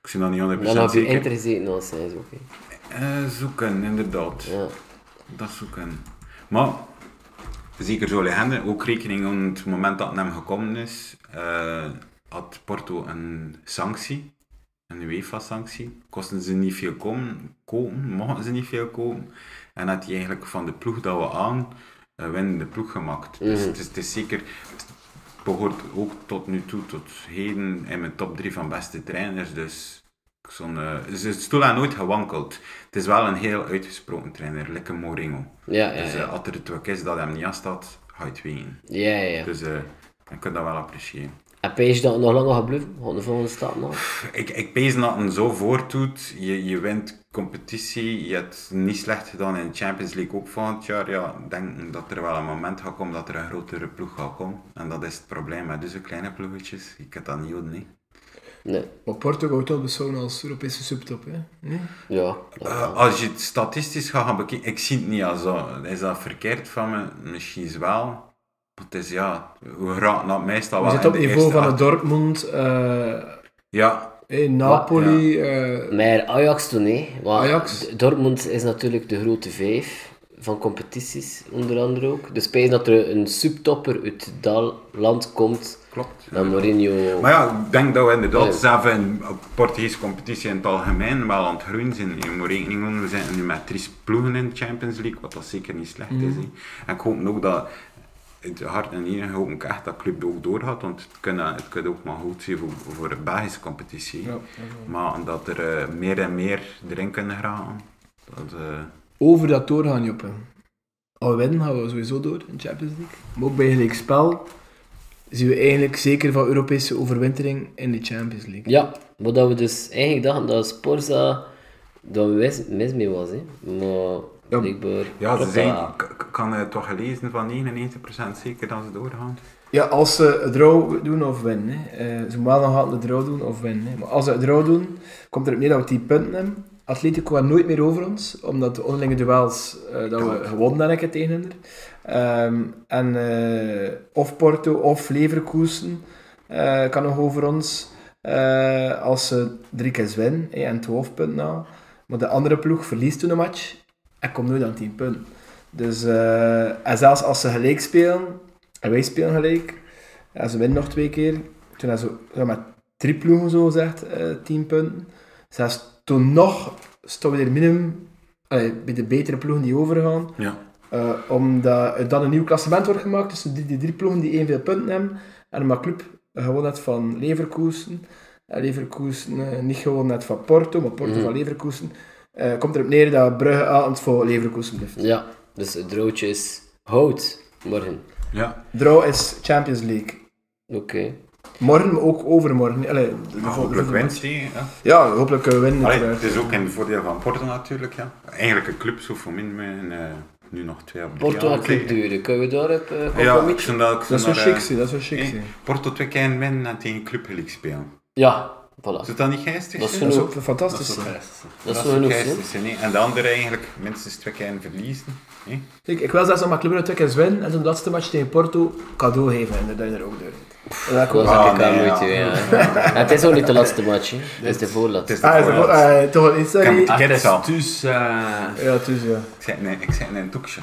E: Ik zie dat niet 100%
C: Dan heb je
E: zeker.
C: Inter gezeten als hij zo. oké.
E: Eh, zoeken, inderdaad.
C: Ja.
E: Dat zoeken. Maar, zeker zo'n legende, ook rekening aan het moment dat het hem gekomen is, eh, had Porto een sanctie, een UEFA-sanctie. Kosten ze niet veel komen, kopen, mochten ze niet veel kopen. En had hij eigenlijk van de ploeg dat we aan, eh, winnen de ploeg gemaakt. Dus het is, het is zeker, het behoort ook tot nu toe, tot heden, in mijn top 3 van beste trainers. Dus zo'n, eh, dus het stoel aan nooit gewankeld. Het is wel een heel uitgesproken trainer, lekker Mourinho.
C: Ja, ja,
E: Dus
C: ja.
E: eh, als er het ook is dat hem niet aanstaat, ga je het weten.
C: Ja, ja, ja.
E: Dus eh ik kan dat wel appreciëren.
C: En Pees dat nog langer gebleven? Gewoon de volgende stap nog.
E: Ik, ik pees dat hem zo voortdoet. Je, je wint competitie. Je hebt niet slecht gedaan in de Champions League ook van het jaar. Ja, ik denk dat er wel een moment gaat komen dat er een grotere ploeg gaat komen. En dat is het probleem met deze kleine ploegetjes. Ik kan dat niet doen, nee.
C: Nee.
B: Maar Porto wordt wel beschouwd als Europese subtop. Hè? Nee?
C: Ja. dat-
E: Eh, als je het statistisch gaat gaan bekijken, ik zie het niet als dat. Is dat verkeerd van me? Misschien is wel. Maar het is ja, we raken dat meestal
B: We
E: wel
B: zitten op
E: in
B: het
E: de
B: niveau
E: eerste
B: van het
E: acht.
B: Dortmund, eh,
E: Ja,
B: eh, Napoli. eh,
C: Maar Ajax toen, hè. Want
B: Ajax.
C: D- Dortmund is natuurlijk de grote vijf van competities, onder andere ook. Dus spijt dat er een subtopper uit het dal- land komt.
E: klopt.
C: Dan Mourinho...
E: Maar ja, ik denk dat we inderdaad
C: Ja.
E: zelf in Portugese competitie in het algemeen wel aan het groeien zijn. Je moet rekening houden, we zijn nu met drie ploegen in de Champions League, wat dat zeker niet slecht is. hè. En ik hoop ook dat het hart en hier hoop ik echt dat club ook doorgaat, want het kan, het kan ook maar goed zijn voor, voor de Belgische competitie. Maar omdat er eh, meer en meer erin kunnen gaan, dat... eh,
B: over dat doorgaan, Joppe. Al winnen gaan we sowieso door in de Champions League. Maar ook bij gelijk spel zien we eigenlijk zeker van Europese overwintering in de Champions League.
C: Ja, maar dat we dus eigenlijk dachten dat Sporza dat mis, mis mee was, hè. Maar
E: Ja,
C: blijkbaar...
E: ja, ze
C: Hoppa.
E: zijn, ik- ik kan het toch gelezen van 99% zeker dat ze doorgaan.
B: Ja, als ze een draw doen of winnen. Hè. Eh, ze moeten wel nog altijd een draw doen of winnen. Hè. Maar als ze een draw doen, komt erop neer dat we 10 punten hebben. Atletico gaat nooit meer over ons, omdat de onderlinge duels eh, dat we gewonnen hebben tegen hen. Ehm, en eh, of Porto of Leverkusen eh, kan nog over ons. eh, als ze drie keer winnen hè, en 12 punten halen. Maar de andere ploeg verliest toen een match en komt nooit aan 10 punten. Dus, eh, en zelfs als ze gelijk spelen, en wij spelen gelijk, en ze winnen nog twee keer, toen hebben ze ja, met drie ploegen zo gezegd, eh 10 punten. Zelfs toen nog stonden we er minimum allee, bij de betere ploegen die overgaan,
E: Ja.
B: eh, omdat er dan een nieuw klassement wordt gemaakt tussen die, die drie ploegen die evenveel punten hebben, en omdat Club gewonnen had van Leverkusen, en Leverkusen eh, niet gewonnen had van Porto, maar Porto
C: Mhm.
B: van Leverkusen, eh, komt erop neer dat Brugge altijd voor Leverkusen blijft.
C: Ja, dus het droodje is hout morgen.
E: Ja,
B: Draw is Champions League.
C: Oké.
B: Morgen, maar ook overmorgen. Allee, de- de
E: maar
B: volgende-
E: hopelijk winst die. Ja.
B: Ja, hopelijk kunnen we winnen.
E: Allee,
B: uiteraard.
E: het is ook in het voordeel van Porto natuurlijk. Ja. Eigenlijk een club zo voor min mijn, eh, nu nog twee op drie
C: Porto
E: jaar.
C: en Club Duren, kunnen we daarop eh
E: Ja, ik
C: compromissen?
E: vind dat, ik
B: Dat
E: vind
B: is zo
E: dat,
B: chic,
E: eh,
B: zie, dat is zo chic.
E: eh,
B: zie.
E: Porto twee keer en winnen en tegen Club League spelen.
C: Ja, voilà.
E: Is dat niet geestig?
C: Dat is
E: hè?
B: Dat is
C: genoeg.
B: ook fantastisch. zie.
C: Dat is
E: ook
C: genoeg,
E: geestig, hè, nee. En de andere eigenlijk minstens twee keer en verliezen. hè.
B: Kijk, ik wil zelfs nog maar Club Brugge twee keer winnen en zo'n laatste match tegen Porto cadeau geven. En dat doe je er ook door. Dat
C: Ik was
E: Ah,
C: eigenlijk
E: nee,
C: aan
E: ja.
C: moeite, ja. En Het is ook niet de laatste match, hè. het is de
E: Het
C: voorlaatste.
E: is de
B: Ah, is dat
E: voorlaatste.
B: wel- eh, toch wel iets,
E: Ik heb
B: sorry.
E: het al.
D: Dus, eh,
B: Ja, dus ja.
E: Ik zit in- Ik zit in een toekje.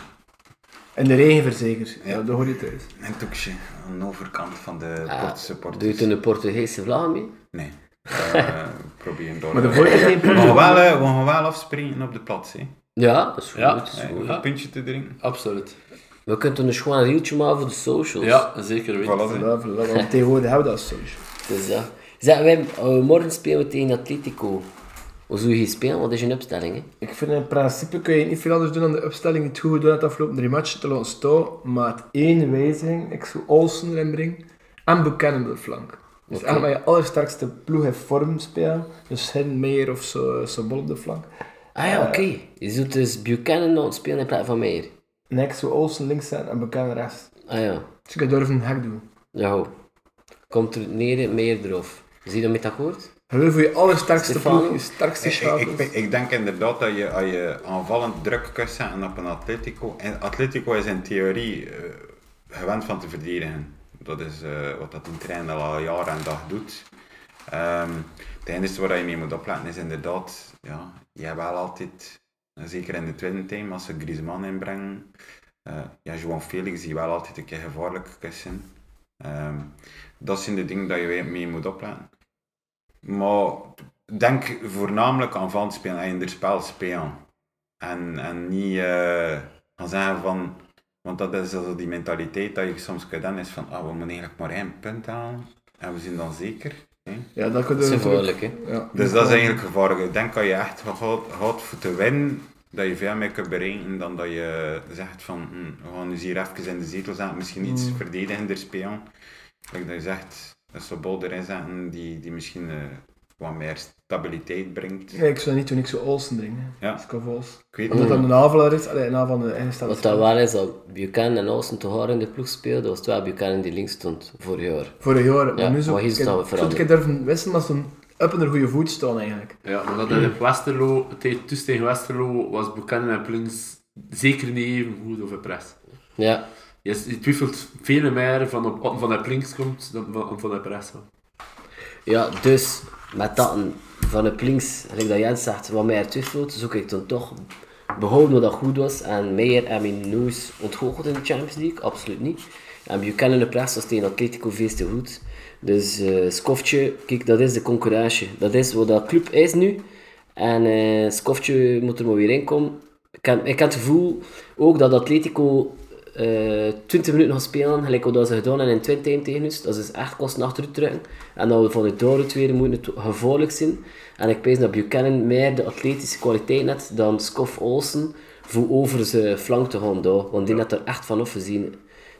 B: En de regenverzeker. Ja, dat hoor je thuis.
E: Een toekje aan de overkant van de
C: Ah,
E: Portse
C: Doe je
E: supporters.
C: toen de Portugese vlag mee?
E: Nee. Eh, probeer door.
B: Maar de vorige geen
E: we
B: probleem.
E: gaan wel, eh, we gaan wel afspringen op de plaats. Hè.
C: Ja, dat is goed.
D: Ja.
C: dat is
E: Eh,
C: goed.
E: Een puntje te drinken.
D: Absoluut.
C: We kunnen toen dus gewoon een reeltje maken voor de socials.
D: Ja, zeker weten.
E: Voilà, hè.
B: Voilà, voilà, want tegenwoordig hebben we dat sowieso.
C: Dus dat. Zeg, wij, eh, morgen spelen we tegen Atletico. Hoe zou je hier spelen? Wat is je opstelling? Hè?
B: Ik vind in principe kun je niet veel anders doen dan de opstelling die het goed gedaan heeft de afgelopen drie matchen te laten staan. Maar het één wijziging, ik zou Olsen erin brengen en Buchanan op de flank. Dus
C: Oké.
B: echt met je allersterkste ploeg in vorm spelen. Dus hen meer of zo, zo bol op de flank.
C: Ah ja, oké. Je zult dus Buchanan nog spelen in plaats van Meijer.
B: Nee, ik zou Olsen links zijn en Buchanan rechts.
C: Ah ja.
B: Dus ik ga durven een hek doen.
C: Ja, ho. Komt er neer, Meijer eraf. Zie je dat met akkoord?
B: Gewoon voor je allersterkste
C: Stefano?
B: ploeg, je sterkste
E: Ik, ik,
B: schakels.
E: ik- ik denk inderdaad dat je, als je aanvallend druk kunt zetten op een Atletico. En Atletico is in theorie eh, gewend van te verdedigen. Dat is eh, wat dat een trainer al jaar en dag doet. Ehm, het enige waar je mee moet opletten is inderdaad, ja, je hebt wel altijd, en zeker in de tweede team, als ze Griezmann inbrengen, eh, ja, João Felix die wel altijd een keer gevaarlijk kussen. Ehm dat zijn de dingen dat je weer mee moet opletten. Maar denk voornamelijk aan van spelen en in het spel spelen. En, en niet eh, gaan zeggen van, want dat is also die mentaliteit dat je soms kunt hebben, is van, ah, we moeten eigenlijk maar één punt halen en we zijn dan zeker. hè.
B: Ja, dat kunnen
C: Dat is
B: we natuurlijk-
C: gevaarlijk, hè?
B: Ja.
E: Dus dat is eigenlijk gevaarlijk. Ik denk dat je echt gaat, gaat voor te winnen, dat je veel meer kunt bereiken dan dat je zegt van, hm, we gaan dus hier even in de zetel zetten, misschien iets
B: Mm.
E: verdedigender spelen. Like dat je zegt, dat ze bol erin zetten die, die misschien eh, wat meer stabiliteit brengt.
B: Nee, ik zou niet doen, ik zou Olsen dringen.
E: Ja.
B: Dus ik ga voor Olsen.
E: Ik weet
B: Omdat
E: niet.
B: dat een aanvaller is, allee, een aanvaller van de ingestelde
C: Hmm. Wat dat waar is, dat Buchanan en Olsen te horen in de ploeg speelden, was het wel Buchanan die links stond vorig jaar.
B: Voor een jaar.
C: Ja,
B: maar nu
C: maar
B: zou
C: hier
B: ik
C: is het al
B: zou
C: veranderd.
B: ik het durven wisselen, maar zo'n up en een goede voet staan eigenlijk.
D: Ja, maar dat in Westerlo, tegen- tussen tegen Westerlo, was Buchanan en Pluns zeker niet even goed over pres.
C: Ja,
D: Je, is- je twijfelt veel meer van op, van de Plings komt dan van, van de pres. komt.
C: ja dus met dat een- van het links, gelijk dat Jens zegt, wat mij twijfelt, zoek ik dan toch behouden wat dat goed was. En Meijer en Minoes ontgoocheld in de Champions League, absoluut niet. En Buchanan de press was tegen Atletico veel te goed. Dus eh Skoftje, kijk, dat is de concurrentie. Dat is wat dat club is nu. En eh Skoftje moet er maar weer in komen. Ik heb, ik heb het gevoel ook dat Atletico eh 20 minuten gaan spelen, gelijk wat dat ze gedaan hebben in 20 time tegen ons. Dat is echt kosten achteruit drukken. En dat we van het door het weer moeten het gevaarlijk zijn. En ik pees dat Buchanan meer de atletische kwaliteit net dan Scoff Olsen voor over zijn flank te gaan doen. Want die net er echt van afgezien.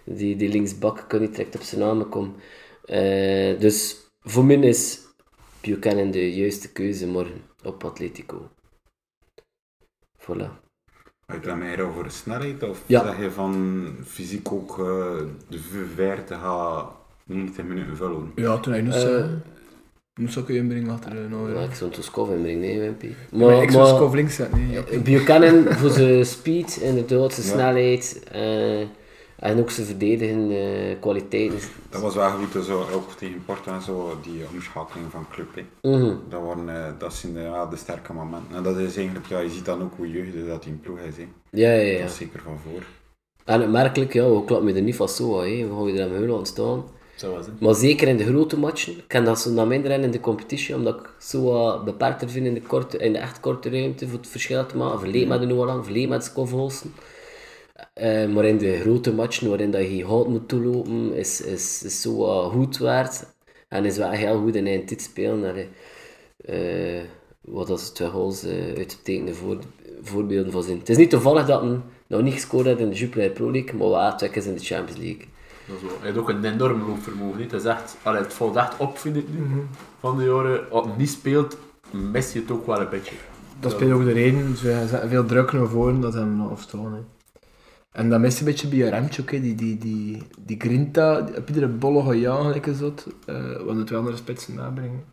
C: Die, die linksbak kan niet direct op zijn namen komen. Eh, dus voor mij is Buchanan de juiste keuze morgen op Atletico. Voilà.
E: Heb je dan meer over snelheid of
C: Ja.
E: zeg je van fysiek ook eh, de v- ver te gaan 90 minuten vullen?
B: Ja, toen hij nu
C: Eh.
B: zo... Nu zou ik je inbrengen achter de
C: Ja,
B: nou,
C: ik zou het Skov inbrengen, nee, Wimpy.
B: Maar
C: Maar,
B: ik zou
C: maar
B: Skov links zetten, nee. ja.
C: Buchanan voor zijn speed, inderdaad, zijn snelheid eh, en ook zijn verdedigende kwaliteiten.
E: Dat was wel goed, dus ook tegen Porto en zo, die omschakeling van club. hè.
C: Mhm.
E: Dat, waren, eh, dat zijn eh, wel de sterke momenten. En dat is eigenlijk, ja, je ziet dan ook hoe jeugd dat in ploeg is. hè.
C: Ja, ja, ja.
E: Dat is zeker van voor.
C: En opmerkelijk, ja, we klappen er niet van zo, hè. we houden er aan heel aan staan.
D: Zo was het.
C: Maar zeker in de grote matchen, ik kan dat zo naar minder in de competitie, omdat ik zo wat beperkter vind in de, korte, in de echt korte ruimte voor het verschil te maken. Verleed met de Noorlang, verleed met Skovholsen. Eh maar in de grote matchen waarin dat je hout moet toelopen, is, is, is zo wat goed waard. En is wel heel goed in eind dit spelen. En, eh, eh, wat als twee goals eh uittekende voor, voorbeelden van zijn. Het is niet toevallig dat hij nog niet gescoord heeft in de Jupiler Pro League, maar wel twee keer in de Champions League.
D: Dat is wel- Hij heeft ook een enorm loopvermogen. Niet? Het, is echt, allee, het valt echt op, vind ik nu. Van de jaren, als het niet speelt, mis je het ook wel een beetje.
B: Dat speelt ook de reden, dus we zetten veel druk naar voren, dat hem nog afstaan, hè. En dat mist een beetje bij Remtje ook, hè. die, die, die, die grinta, die op iedere bolle gaat jagen, lekker zot, eh, want het wel andere spitsen nabrengen.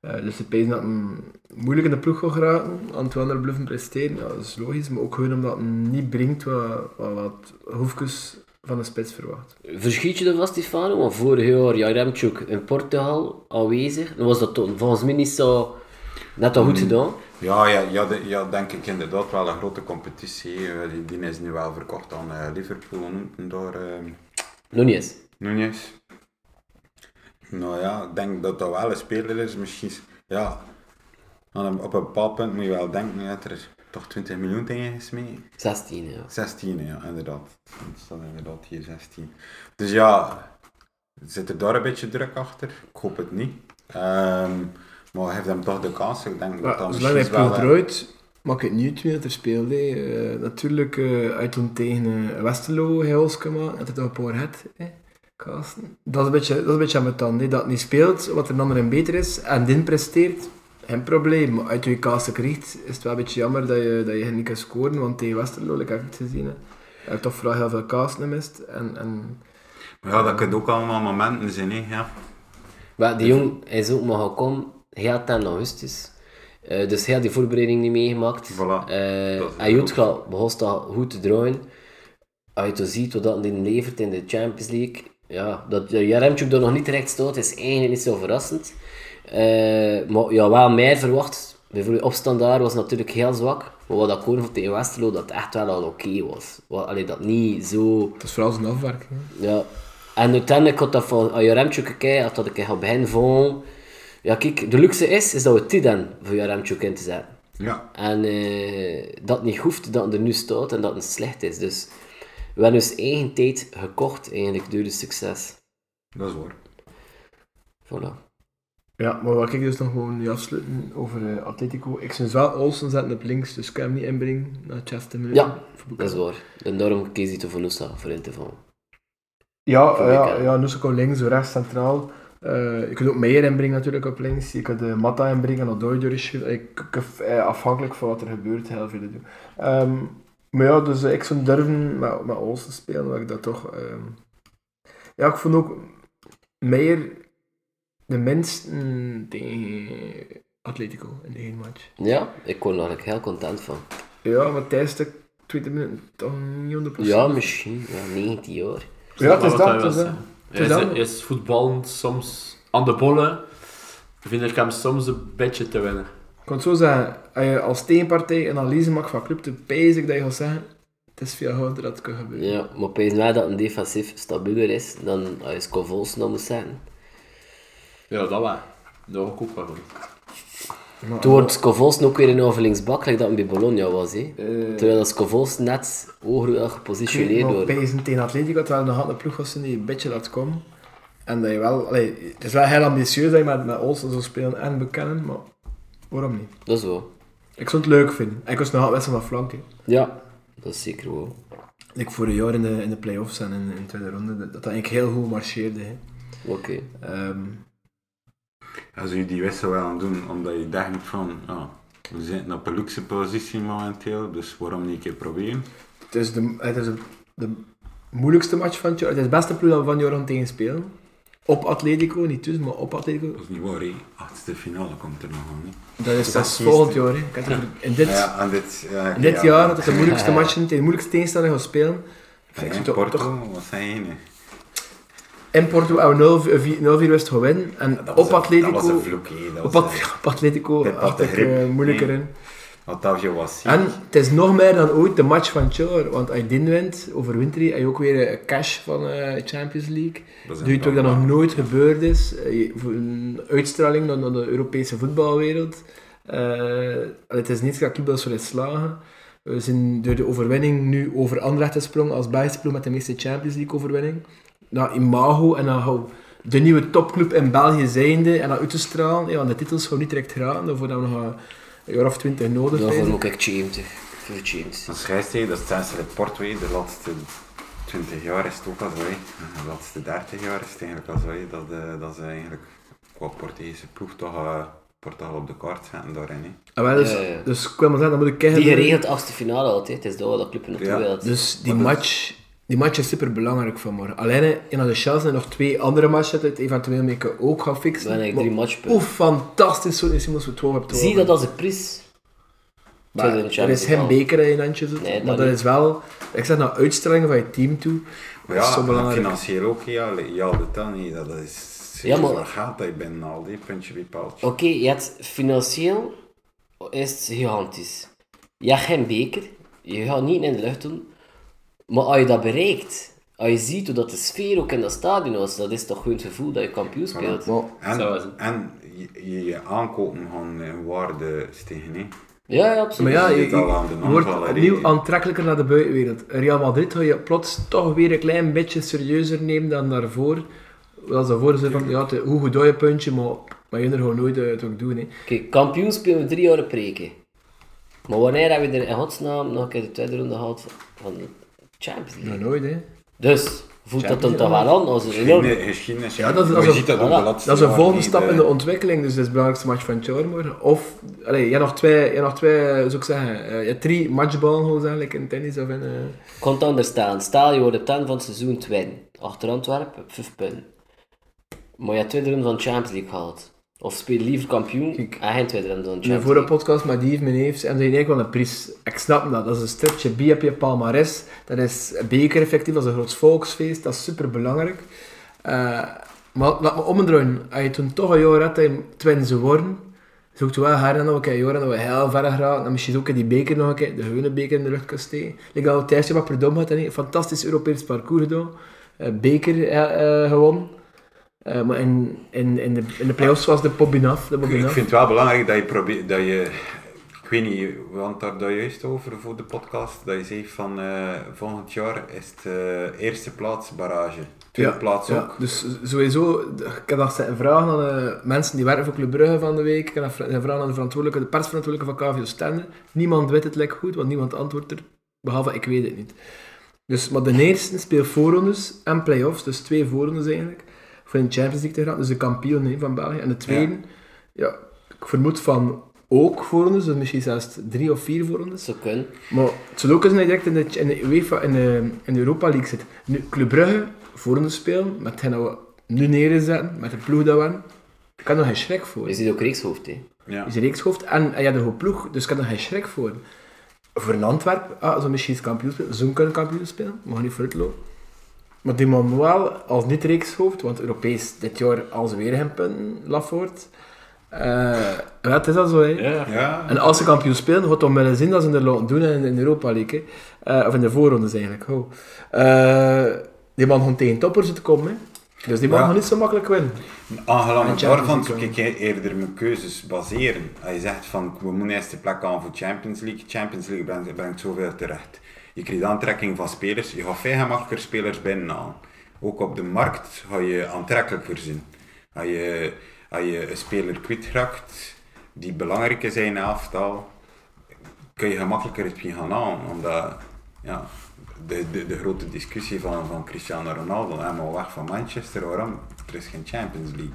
B: Eh, dus ze pezen dat hem moeilijk in de ploeg gaat geraken, aan het wel andere bluffen presteren, ja, dat is logisch, maar ook gewoon omdat het hem niet brengt wat, wat, wat Hoefkes van de spits verwacht.
C: Verschiet je ervan, Stefano? Want vorig jaar, ja, Remtjouk in Portugal aanwezig. Dan was dat toen volgens mij niet zo Dat had goed gedaan.
E: Ja, ja, ja, de- ja, denk ik inderdaad wel een grote competitie. Eh, Die, die is nu wel verkocht aan eh, Liverpool, hoe noemt hem door eh
C: Nog niet eens.
E: Nunez. Nou ja, ik denk dat dat wel een speler is. Misschien, is- ja, aan een- op een bepaald punt moet je wel denken dat er toch 20 miljoen tegen is mee.
C: 16, ja.
E: 16, ja, inderdaad. Het staat inderdaad hier 16. Dus ja, zit er daar een beetje druk achter? Ik hoop het niet. Ehm, maar hij heeft hem toch de kans. Ik denk dat dat
B: Zolang hij
E: misschien wel...
B: proeft eruit, maakt het niet uit wie dat er speelde. hè. Eh, natuurlijk, eh uit toen tegen eh, Westerlo, hij ons kan maken, dat hij toch een paar had. hè. Kaassen. Dat is een beetje, dat is een beetje aan mijn tand. hè. Dat het niet speelt, wat een ander en beter is, en dit presteert, geen probleem. Maar uit je kaasen krijgt, is het wel een beetje jammer dat je, dat je niet kan scoren, want tegen Westerlo, like, heb ik het gezien, hè. hij heeft toch vooral heel veel kaasen gemist. En, en
E: Maar Ja, dat kunnen ook allemaal momenten zijn, hè. Ja.
C: Maar die jong hij is ook maar gekomen heel 10 augustus. Eh, dus hij had die voorbereiding niet meegemaakt.
E: Voilà,
C: Eh,
E: dat is
C: hij hield gaat begon dat goed te draaien. Als je dan ziet wat dat die levert in de Champions League. Ja, dat eh, Jaremchuk daar nog niet terecht staat is eigenlijk niet zo verrassend. Eh, maar ja, wel meer verwacht. Bijvoorbeeld opstand daar was natuurlijk heel zwak. Maar wat ik hoorde van tegen Westerlo, dat het echt wel al oké was. Wel, Allee, dat niet zo...
B: dat is vooral zijn afwerking. hè.
C: Ja. En uiteindelijk had dat van Jaremchuk gekeken, had dat ik op hen van. Ja, kijk, de luxe is, is dat we die dan voor Jaremchuk in te zetten.
E: ja.
C: En eh, dat niet hoeft, dat het er nu staat en dat het slecht is. Dus we hebben ons eigen tijd gekocht eigenlijk door de succes.
E: Dat is waar.
C: Voilà.
B: Ja, maar wat ik dus nog gewoon nu afsluiten over eh, Atletico. Ik zou wel Olsen zetten op links, dus ik kan hem niet inbrengen naar Chester Miller.
C: Ja, dat is waar. En daarom kies ik voor Nusa voor in te vallen.
B: Ja,
C: Voor
B: ja,
C: Mika.
B: ja Nusa kan links, zo rechts centraal. Eh je kunt ook Meijer inbrengen natuurlijk op links. Je kunt eh, Matta inbrengen, Odoi door is ik, ik, eh, Afhankelijk van wat er gebeurt, heel veel te doen. Ehm, maar ja, dus eh, ik zou durven met, met Olsen spelen, omdat ik dat toch... ehm, Ja, ik vond ook Meijer de minst tegen Atletico in de hele match.
C: Ja, ik word er eigenlijk heel content van.
B: Ja, maar tijdens de tweede minuut toch niet 100%.
C: Ja, misschien. Ja, 19 jaar.
B: ja het is
D: Maar wat
B: dat.
D: hij
B: Het is dat.
D: wil zeggen.
B: Het is
D: Hij is,
B: dat.
D: hij is voetballend soms aan de bollen. Vind ik hem soms een beetje te winnen.
B: Ik kan het zo zeggen, als je als tegenpartij een analyse maakt van club, te pijs ik dat je gaat zeggen, het is veel harder dat het kan gebeuren.
C: Ja, maar opeens wel dat een defensief stabieler is dan als je Scovols nog moet zetten.
D: Ja, dat wel. Dat ook ook wel goed.
B: Maar-
C: Toen wordt Scovolsen ook weer in over linksbak, like dat hem bij Bologna was. hè
B: Eh,
C: Terwijl dat Scovolsen net hoger
B: Ik
C: gepositioneerd
B: maar
C: wordt.
B: pijzen tegen Atletico, dat wel een harde ploeg was die een beetje laat komen. En dat je wel, allee, het is wel heel ambitieus dat je met, met Olsen zou spelen en bekennen, maar waarom niet?
C: Dat is wel.
B: Ik zou het leuk vinden. En ik was nog altijd wedstrijd van flank. hè.
C: Ja, dat is zeker wel.
B: Ik vorig jaar in de, in de play-offs en in, in de tweede ronde, dat dat eigenlijk heel goed marcheerde. hè.
C: Oké.
B: Ehm,
E: Als je die wissel wel aan doen, omdat je denkt van, ja, we zitten op een luxe positie momenteel, dus waarom niet een keer proberen?
B: Het is de, het is de, de moeilijkste match van het jaar. Het is de beste ploeg dat we van Joran tegen spelen. Op Atletico, niet tussen, maar op Atletico.
E: Dat is niet waar, hè. Achtste finale komt er nog aan, hè.
B: Dat is
E: dat
B: pas
E: is
B: volgend jaar. hè. Ik had het over- In dit,
E: Ja, en dit, ja,
B: in dit
E: ja,
B: jaar, dat is de moeilijkste match tegen de moeilijkste tegenstander gaan spelen.
E: Ja,
B: Ik
E: in
B: vind toch, toch,
E: Porto, wat zijn je, hè?
B: in Porto hebben we 0-4 wist gaan winnen. En
E: Dat was
B: op
E: een- Dat was
B: Atletico,
E: een vloek, hè. Dat
B: op,
E: was een-
B: At- op Atletico
E: Dit was
B: had
E: de
B: ik
E: grip,
B: eh, moeilijker
E: nee.
B: in.
E: Otavio was ziek.
B: En het is nog meer dan ooit de match van het jaar. Want als je dit wint, overwint hij, heb je ook weer een cash van de Champions League.
E: Dat is
B: Doe je toch dat
E: een-
B: nog nooit gebeurd is. Eh, je- voor Een uitstraling naar naar de Europese voetbalwereld. Eh, het is niet dat club dat zo is slagen. We zijn door de overwinning nu over Anderlecht gesprongen als Belgische ploeg met de meeste Champions League overwinning. Naar Imago en dan gaan we de nieuwe topclub in België zijnde en dat uit te stralen. Ja, want de titels gaan we niet direct gaan. Daarvoor hebben we nog een- een jaar of twintig nodig.
C: Daarvoor
B: zijn.
C: moet ik James. Voor James.
E: Dan schrijft hij, dat is het Porto, hè. de laatste 20 jaar is het ook al zo. hè. De laatste 30 jaar is het eigenlijk al zo. hè. Dat, eh, dat ze eigenlijk qua Portugese ploeg toch eh, Portugal op de kaart zetten daarin. hè.
B: Ah, wel, dus,
C: Ja, ja, ja.
B: dus ik wil maar zeggen, dat moet ik
C: Die
B: kijken.
C: geregeld achtste finale altijd. Het is dat wat dat club naartoe
E: Ja.
C: wil.
B: Dus die
E: Maar dat-
B: match, die match is super belangrijk vanmorgen. Alleen hè, in de Shells zijn nog twee andere matchen dat het eventueel mee kan ook gaan fixen.
C: Dan heb ik
B: Maar
C: drie matchpunten.
B: Hoe fantastisch zo is Simons voor 12 op 12.
C: Zie dat als een prijs.
B: Maar
C: Tweede
B: Er
C: Champions
B: is geen
C: League.
B: beker in je handje zit,
C: Nee, dat
B: maar dat
C: niet.
B: is wel, ik zeg nou, uitstraling van je team toe.
E: Maar
B: Dat is
E: ja,
B: zo
E: en
B: belangrijk.
E: financieel ook, ja, le- ja de tel niet. Dat is
C: Ja,
E: ja,
C: maar-
E: maar... gaat dat je bent al die puntje bij paaltje.
C: Oké, je hebt financieel is gigantisch. Je hebt geen beker, je gaat niet in de lucht doen. Maar als je dat bereikt, als je ziet hoe dat de sfeer ook in dat stadion was, dat is toch gewoon het gevoel dat je kampioen speelt.
D: Zo is
E: En,
D: het.
E: en je, je- je aankopen gaan in waarde stegen. hè.
C: Ja, ja, absoluut.
B: Maar ja, je,
E: Dit al aan de
B: je wordt
E: aanvallen,
B: opnieuw
E: hè.
B: aantrekkelijker naar de buitenwereld. Real Madrid ga je plots toch weer een klein beetje serieuzer nemen dan daarvoor. Wel ze daarvoor zeiden van, ja, het- hoe goed doe je puntje, maar, maar je er gewoon nooit eh, het ook doen. Hè.
C: Kijk, kampioen spelen we drie jaar preken. Maar wanneer hebben we er in godsnaam nog een keer de tweede ronde gehad van de Champions League?
B: Nog nooit, hè.
C: Dus voelt dat dan toch wel aan als een enorme...
E: Geschiedenis, geschiedenis.
B: Ja, dat is-
E: Maar
B: dat
E: je
B: is-
E: ziet dat ook
C: voilà.
E: de laatste
B: Dat is een
E: jaren
B: volgende
E: niet,
B: stap
E: eh,
B: in de ontwikkeling, dus dat is de belangrijkste match van Charmer. Of, allee, je hebt nog twee, je hebt nog twee, eh, zou ik zeggen, eh, je hebt drie matchballen gewoon zeggen, like in tennis of in... eh,
C: Kon het anders staan. Stel, je wordt op 10 van het seizoen twin. Achter Antwerpen, op 5 punten. Maar je hebt tweede ronde van de Champions League gehaald. Of speel liever kampioen
B: Kijk.
C: en geen tweede ronde van
B: In
C: de
B: de
C: Champions
B: vorige
C: League.
B: podcast met Yves, mijn neef, en zei ik wel een prijs. Ik snap dat, dat is een stripje bier op je palmares. Dat is een beker effectief, dat is een groot volksfeest, dat is superbelangrijk. Eh, maar laat me omdraaien, als je toen toch een jaar had dat je twin ze worden, zoek je wel haar nog een keer jaren dat we heel ver geraakt en misschien ook in die beker nog een keer, de gewone beker in de lucht kan steken. Ik had al Thijsje wat Perdom had, en een fantastisch Europees parcours gedaan, Een beker eh, eh, gewonnen. Eh, maar in, in, in, de, in de play-offs was de Pobinaf. De
E: Ik
B: Bobinaf.
E: vind het wel belangrijk dat je probeert, dat je, ik weet niet, we hadden het daar daar juist over voor de podcast, dat je zegt van eh, volgend jaar is het eh, eerste plaats barrage, tweede plaats
B: ja.
E: ook.
B: Dus sowieso, ik heb dat zitten vragen aan eh, mensen die werken voor Club Brugge van de week. Ik heb dat vra- vragen aan de, verantwoordelijke, de persverantwoordelijke van KVO Stende. Niemand weet het lekker goed, want niemand antwoordt er. Behalve ik weet het niet. Dus, maar de eerste speelt voorrondes en play-offs, dus twee voorrondes eigenlijk. Voor in de Champions League te gaan, dus de kampioen hè, van België. En de tweede, ja. ik vermoed van ook voorrondes, dus misschien zelfs drie of vier voorrondes.
C: Zo kunnen.
B: Maar het zou ook eens dat je direct in de, in de UEFA in de, in de Europa League zit. Nu, Club Brugge, voorronde spelen, met hen dat we nu neerzetten, met de ploeg dat we hebben. Ik had er nog geen schrik voor.
C: Je
B: Is
C: ziet ook reekshoofd, hè.
E: Ja.
B: een reekshoofd en, en je hebt een goed ploeg, dus ik had er nog geen schrik voor. Voor een Antwerp, ah, zo misschien eens kampioen spelen, zo kunnen kampioen spelen, mag niet vooruit lopen. Maar die man wel als niet-reekshoofd, want Europees dit jaar als weer hem punten, Lafoort. Eh, ja, het is dat zo, hè.
D: Ja.
E: Ja.
B: En als ze kampioen spelen, gaat dan wel eens zien dat ze het er laten doen in, in de Europa League. hè. Eh, of in de voorrondes eigenlijk. Oh. Eh, die man gaat tegen toppers te komen. Hè. Dus die man
E: Ja.
B: gaat niet zo makkelijk winnen.
E: Aangelang
B: En Champions
E: daarvan
B: League
E: zou ik eerder mijn keuzes baseren. Als je zegt van we moeten eerst de plek aan voor Champions League, Champions League brengt, brengt zoveel terecht. Je krijgt aantrekking van spelers, je gaat veel gemakkelijker spelers binnenhalen. Ook op de markt ga je aantrekkelijker zijn. Als je, als je een speler kwijtraakt die belangrijk is in een elftal, kun je gemakkelijker het begin gaan halen. Omdat ja, de, de, de grote discussie van, van Cristiano Ronaldo, helemaal weg van Manchester, waarom? Er is geen Champions League.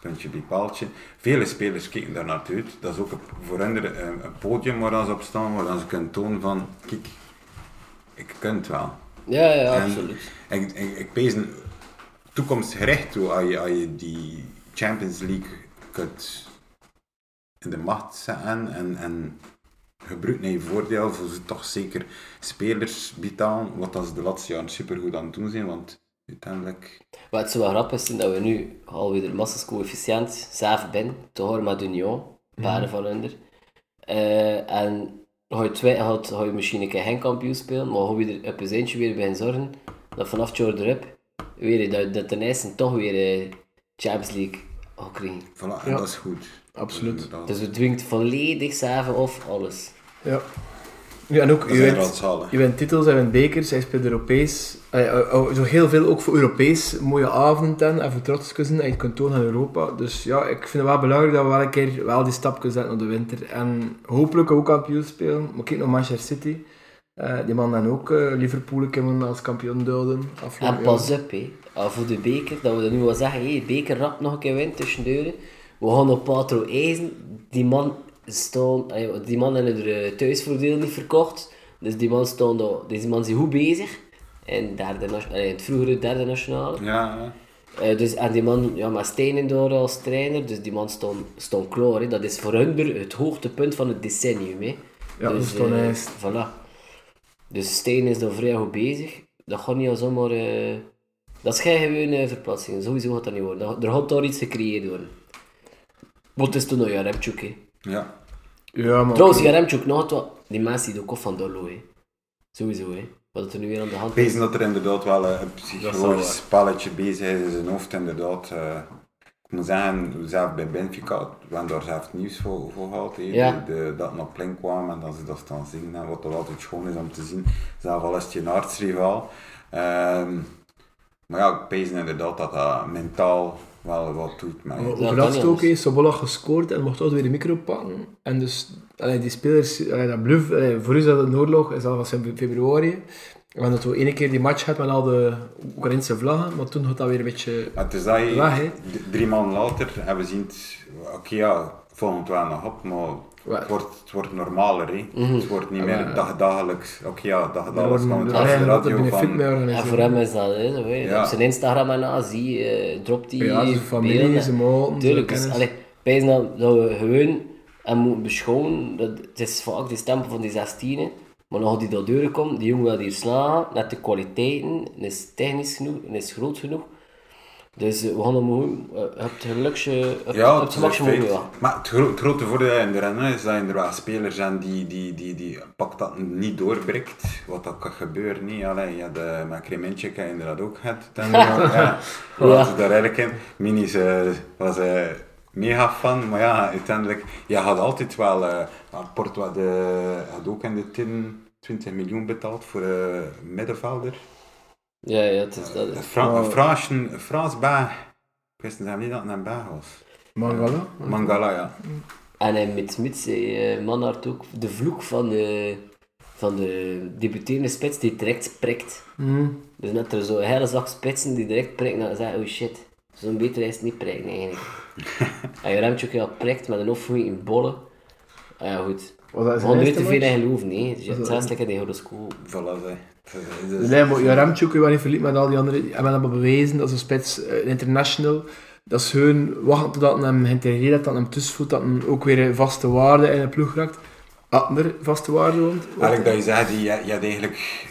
E: Puntje bij paaltje. Vele spelers kijken daar naartoe uit. Dat is ook een- voor hen een, een podium waar ze op staan, waar dan ze kunnen tonen van, kijk, ik kan het wel.
C: Ja, ja,
E: En
C: absoluut.
E: Ik, ik, ik pees een toekomstgericht toe als je, als je die Champions League kunt in de macht zetten en, en gebruikt naar je voordeel voor ze toch zeker spelers betalen, wat dat ze de laatste jaren supergoed aan het doen zijn, want uiteindelijk...
C: Maar het zou wel grappig zijn dat we nu alweer massascoëfficiënt, zelf ben, te horen met Union, paren van onder. Eh, en ga je, twee, ga, je- ga je misschien een keer geen kampioen spelen, maar hoe je er op een eentje weer bij zorgen dat vanaf het jaar erop weer dat, dat ten eerste toch weer eh, Champions League gaat krijgen.
E: Voilà, en
B: Ja.
E: dat is goed.
B: Absoluut.
E: Dat,
C: Dus het dwingt volledig zelf of alles.
B: Ja. ja en ook,
E: dat
B: je
E: zijn
B: wint,
E: raadshalen.
B: je wint titels, hij wint bekers, hij speelt Europees. Eh, eh, oh, zo heel veel ook voor Europees. Mooie avonden en voor trots kussen en je kunt tonen aan Europa. Dus ja, ik vind het wel belangrijk dat we wel een keer wel die stap kunnen zetten op de winter. En hopelijk ook kampioen spelen. Maar kijk naar Manchester City. Eh, die man dan ook eh, Liverpool een keer moeten als kampioen duiden.
C: En pas op, hé. Al voor de beker, dat we dat nu wel zeggen, hé, beker rap nog een keer win tussen deuren. We gaan op Patro Eisen. Die man stond, eh, die man hebben er eh, thuisvoordeel niet verkocht. Dus die man stond, al- deze man is goed bezig. In, derde, nation- eh, in het vroegere derde nationale.
E: Ja, ja.
C: Eh, dus, en die man, ja, maar Stenen door als trainer, dus die man stond, stond klaar. Hè. Dat is voor hun er het hoogtepunt van het decennium. Hè.
B: Ja, dat is toch
C: eh,
B: nice.
C: Voilà. Dus Stenen is daar vrij goed bezig. Dat gaat niet zomaar... eh dat is geen gewone eh, verplaatsing. Sowieso gaat dat niet worden. Dat- er gaat daar iets gecreëerd worden. Want het is toen nog een remtjoek, hè.
E: ja.
B: Ja, maar...
C: Trouwens, okay. Jaremchuk, nog het wat. Die mensen die de kop van Dolo, hè. Sowieso, hè. Wat er nu weer aan de hand is.
E: Wezen dat er inderdaad wel eh, een psychologisch spelletje bezig is in zijn hoofd. Inderdaad, eh, ik moet zeggen, zelf bij Benfica, we hebben daar zelf nieuws voor, voor gehad. hè.
C: Ja.
E: De- de- dat naar Plink kwam en dat ze dat dan zien. En wat er altijd schoon is om te zien, zelf al is het je artsrivaal. Ehm, maar ja, ik pees inderdaad dat dat mentaal wel wat doet. Maar
B: Maar
E: ja,
B: Over
C: kan
B: dat
C: niet
B: ook,
C: anders.
B: heeft Sobolla gescoord en mocht altijd weer de micro pakken. En dus, allee, die spelers, allee, dat bluff, allee, voor u is dat een oorlog, is al van feb- februari. En dat we één keer die match hadden met al de Oekraïnse vlaggen, maar toen had dat weer een beetje...
E: Maar Ah, het is dat je,
B: Weg, hè.
E: d- drie maanden later en we zien het, oké ja, volgend wel nog op, maar
B: Wel.
E: het wordt, het wordt normaler. hè. Het wordt niet meer dag, dagelijks, oké ja, dag,
B: Mhm. Ah, Er
E: dagelijks
B: worden-
E: komt het
B: er
E: op de
B: zijn altijd
E: radio
B: benefit mee
E: van...
C: En
B: organiseren.
C: voor hem is dat, hè. zo, hè.
E: Ja.
C: Op zijn Instagram en al, zie, eh, dropt die
B: Ja, zijn familie,
C: beelden.
B: zijn maten,
C: Tuurlijk,
B: zijn
C: dus,
B: kennis.
C: allee, wij zijn dat, dat we gewoon hem moeten beschouwen. Dat, het is vaak de stempel van die 16 hè. maar nog die door deuren komt, die jongen wil hier slagen, net de kwaliteiten, en is technisch genoeg, en is groot genoeg. Dus eh, we gaan hem gewoon, eh, je hebt gelukje, je hebt- je
E: Ja,
C: hebt
E: het
C: het
E: is
C: maximum
E: feit.
C: ja.
E: Maar het, gro- het grote voordeel in de rennen is dat er wel spelers zijn die, die, die, die pak dat niet doorbrikt. Wat dat kan gebeuren, niet. Allee, eh, ja, de Makrementje kan je inderdaad ook het. Dan, ja, ja. ze daar eigenlijk in. Mini is, eh, was eh, mega fan, maar ja, uiteindelijk, je had altijd wel, eh Porto de, eh, had ook in de 10, 20 miljoen betaald voor eh middenvelder.
C: Ja, ja, het is dat.
E: Een Fra- een Fransje- een Frans Baag. Ik wist zelf niet dat het een Baag was.
B: Mangala?
E: Mangala, ja.
C: En eh, met Smits zei eh, Manhart ook de vloek van de, van de debuterende spits die direct prikt.
B: Hmm.
C: Dus net er zo hele zwak spitsen die direct prikken en dan zeggen, oh shit, zo'n betere is het niet prikken eigenlijk. en je remt ook heel prikt met een oefening in bollen. Ah ja goed.
B: Was dat zijn
C: We gaan er niet
B: eerste
C: te veel
B: match?
C: aan geloven, hè. Dus je hebt zelfs lekker die horoscoop.
E: Voilà, zeg. Dus- dus-
B: Nee, maar Jaramchuk, je wel niet verliep met al die anderen. En men hebben bewezen, dat is een spits, eh, een international. Dat is hun wachten totdat hem geïntegreerd heeft, dat hem tussenvoet, dat hem ook weer een vaste waarde in de ploeg raakt. Atmer vaste waarde woont.
E: Eigenlijk dat je zegt, je, je had eigenlijk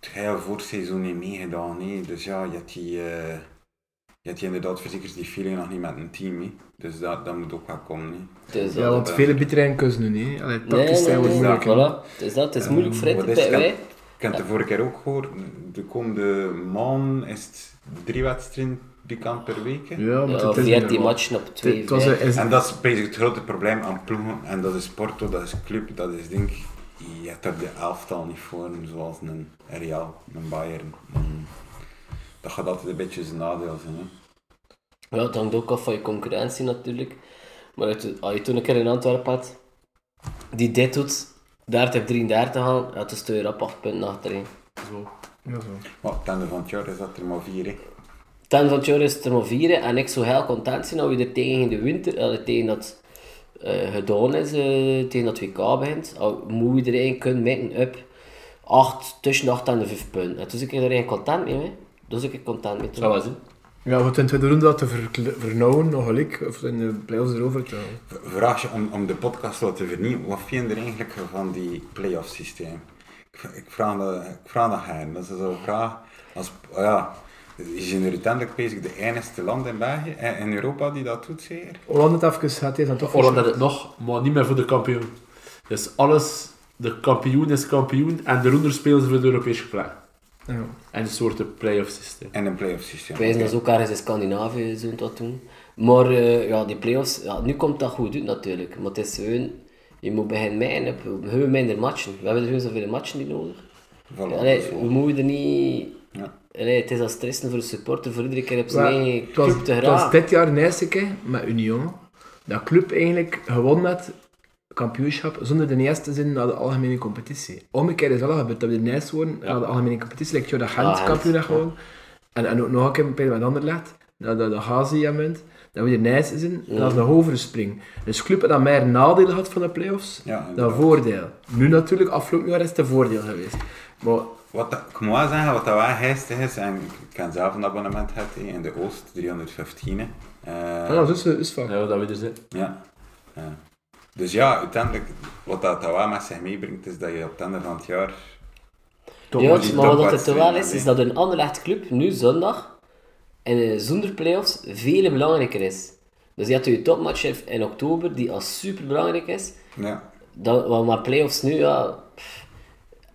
E: het hele voorseizoen niet meegedaan. hè. Dus ja, je had die, eh, je had die inderdaad verzekerd die feeling nog niet met een team. hè. Dus dat, dat moet ook wel komen. hè.
C: Dus
B: Ja, want vele
E: eh.
B: biteren kussen nu niet. Allee,
C: Nee,
B: tactisch
C: nee,
B: zijn we
C: nee,
B: moeilijk. hè.
C: voilà. Dus dat, het is moeilijk voor het
E: Wat
C: te
E: is het?
C: pijpen, hè.
E: Ik heb het de vorige keer ook gehoord. De komende man is het drie wedstrijden die kan per week. hè.
B: Ja, maar
C: Ja,
B: het is niet
C: 14
B: normaal.
C: matchen op
B: Het
C: 2
B: het was een... is-
E: En dat is basically het grote probleem aan ploegen. En dat is Porto, dat is club, dat is denk ik, Je hebt er de elftal niet voor, zoals een Real, een Bayern. een- Dat gaat altijd een beetje zijn nadeel zijn. Hè?
C: Ja, het hangt ook af van je concurrentie natuurlijk. Maar uit- als je toen een keer in Antwerpen had, die dit doet, daar heb 33 gaan, ja, dan stuur je op 8 punten achterin.
B: Ja, zo.
E: Maar op het einde van het jaar is dat er maar vier. Hè?
C: Ten van het jaar is het er maar 4 en ik zou heel content zijn als je er tegen in de winter, eh, tegen dat eh, gedaan is, eh, tegen dat WK begint, al moet je er eigenlijk kunnen meten op 8, tussen de 8 en de 5 punten. En toen ben ik er eigenlijk content mee, hè. Toen ben ik er content mee.
D: Dat was het.
B: Ja, voor de tweede ronde dat te verkle- vernauwen, nog gelijk. Of in de play-offs erover te halen.
E: V- Vraag je om, om de podcast wat te vernieuwen. Wat vind je er eigenlijk van die playoff systeem? Ik, v- ik vraag dat, ik vraag dat aan. Dat is zo'n vraag. Als, oh ja, is in uiteindelijk bezig de enigste land in België en in Europa die dat doet, zeker?
B: Holland het even gaat hij dan toch
D: Holland had het nog, maar niet meer voor de kampioen. Dus alles, de kampioen is kampioen en de roender spelen ze voor de Europese plek.
B: Ja.
D: En een soort play-off systeem.
E: En een playoff systeem.
C: Wij zijn dus ook ergens in Scandinavië zo'n dat doen. Maar eh, ja, die play-offs, ja, nu komt dat goed uit natuurlijk. Maar het is gewoon, je moet beginnen mijnen, op- op heel minder matchen. We hebben er gewoon zoveel matchen niet nodig.
E: Voilà, dus-
C: Allee,
E: dat is wel-
C: we moeten er niet...
E: Ja.
C: Allee, het is al stressen voor de supporter voor iedere keer op zijn
B: Maar
C: eigen
B: het was,
C: club te
B: het was
C: geraken.
B: dit jaar een eerste keer met Union. Dat club eigenlijk gewonnen had kampioenschap zonder de eerste te zijn naar de algemene competitie. Omgekeerd is wel al gebeurd dat we de eerste worden naar de algemene competitie. Like Jorda Gent
C: Ah,
B: kampioen
C: Gent,
B: had gewonnen. En, en ook nog een keer bij met Anderlecht. Dat, dat de Hazi aan bent. Dat we de Nijs zijn. En dat is een hogere spring. Dus club had dat meer nadelen had van de play-offs
E: Ja,
B: dan
E: inderdaad.
B: voordeel. Nu natuurlijk, afgelopen jaar is het een voordeel geweest. Maar
E: Wat dat, ik moet wel zeggen, wat dat wel geestig is, en ik kan zelf een abonnement hebben in de Oost, 315. hè. Eh,
B: ah, dat is, is van.
D: Ja, dat we dus, er zijn.
E: Ja. ja. Dus ja, uiteindelijk, wat dat, dat wel met zich meebrengt, is dat je op het einde van het jaar...
C: Ja,
E: die
C: maar wat het er
E: topwedstrijden
C: wel is,
E: alleen.
C: is dat een Anderlecht club nu zondag, en, eh, zonder play-offs, veel belangrijker is. Dus je hebt je topmatch in oktober, die al super belangrijk is.
E: Ja.
C: Dat, want maar playoffs nu, ja, pff,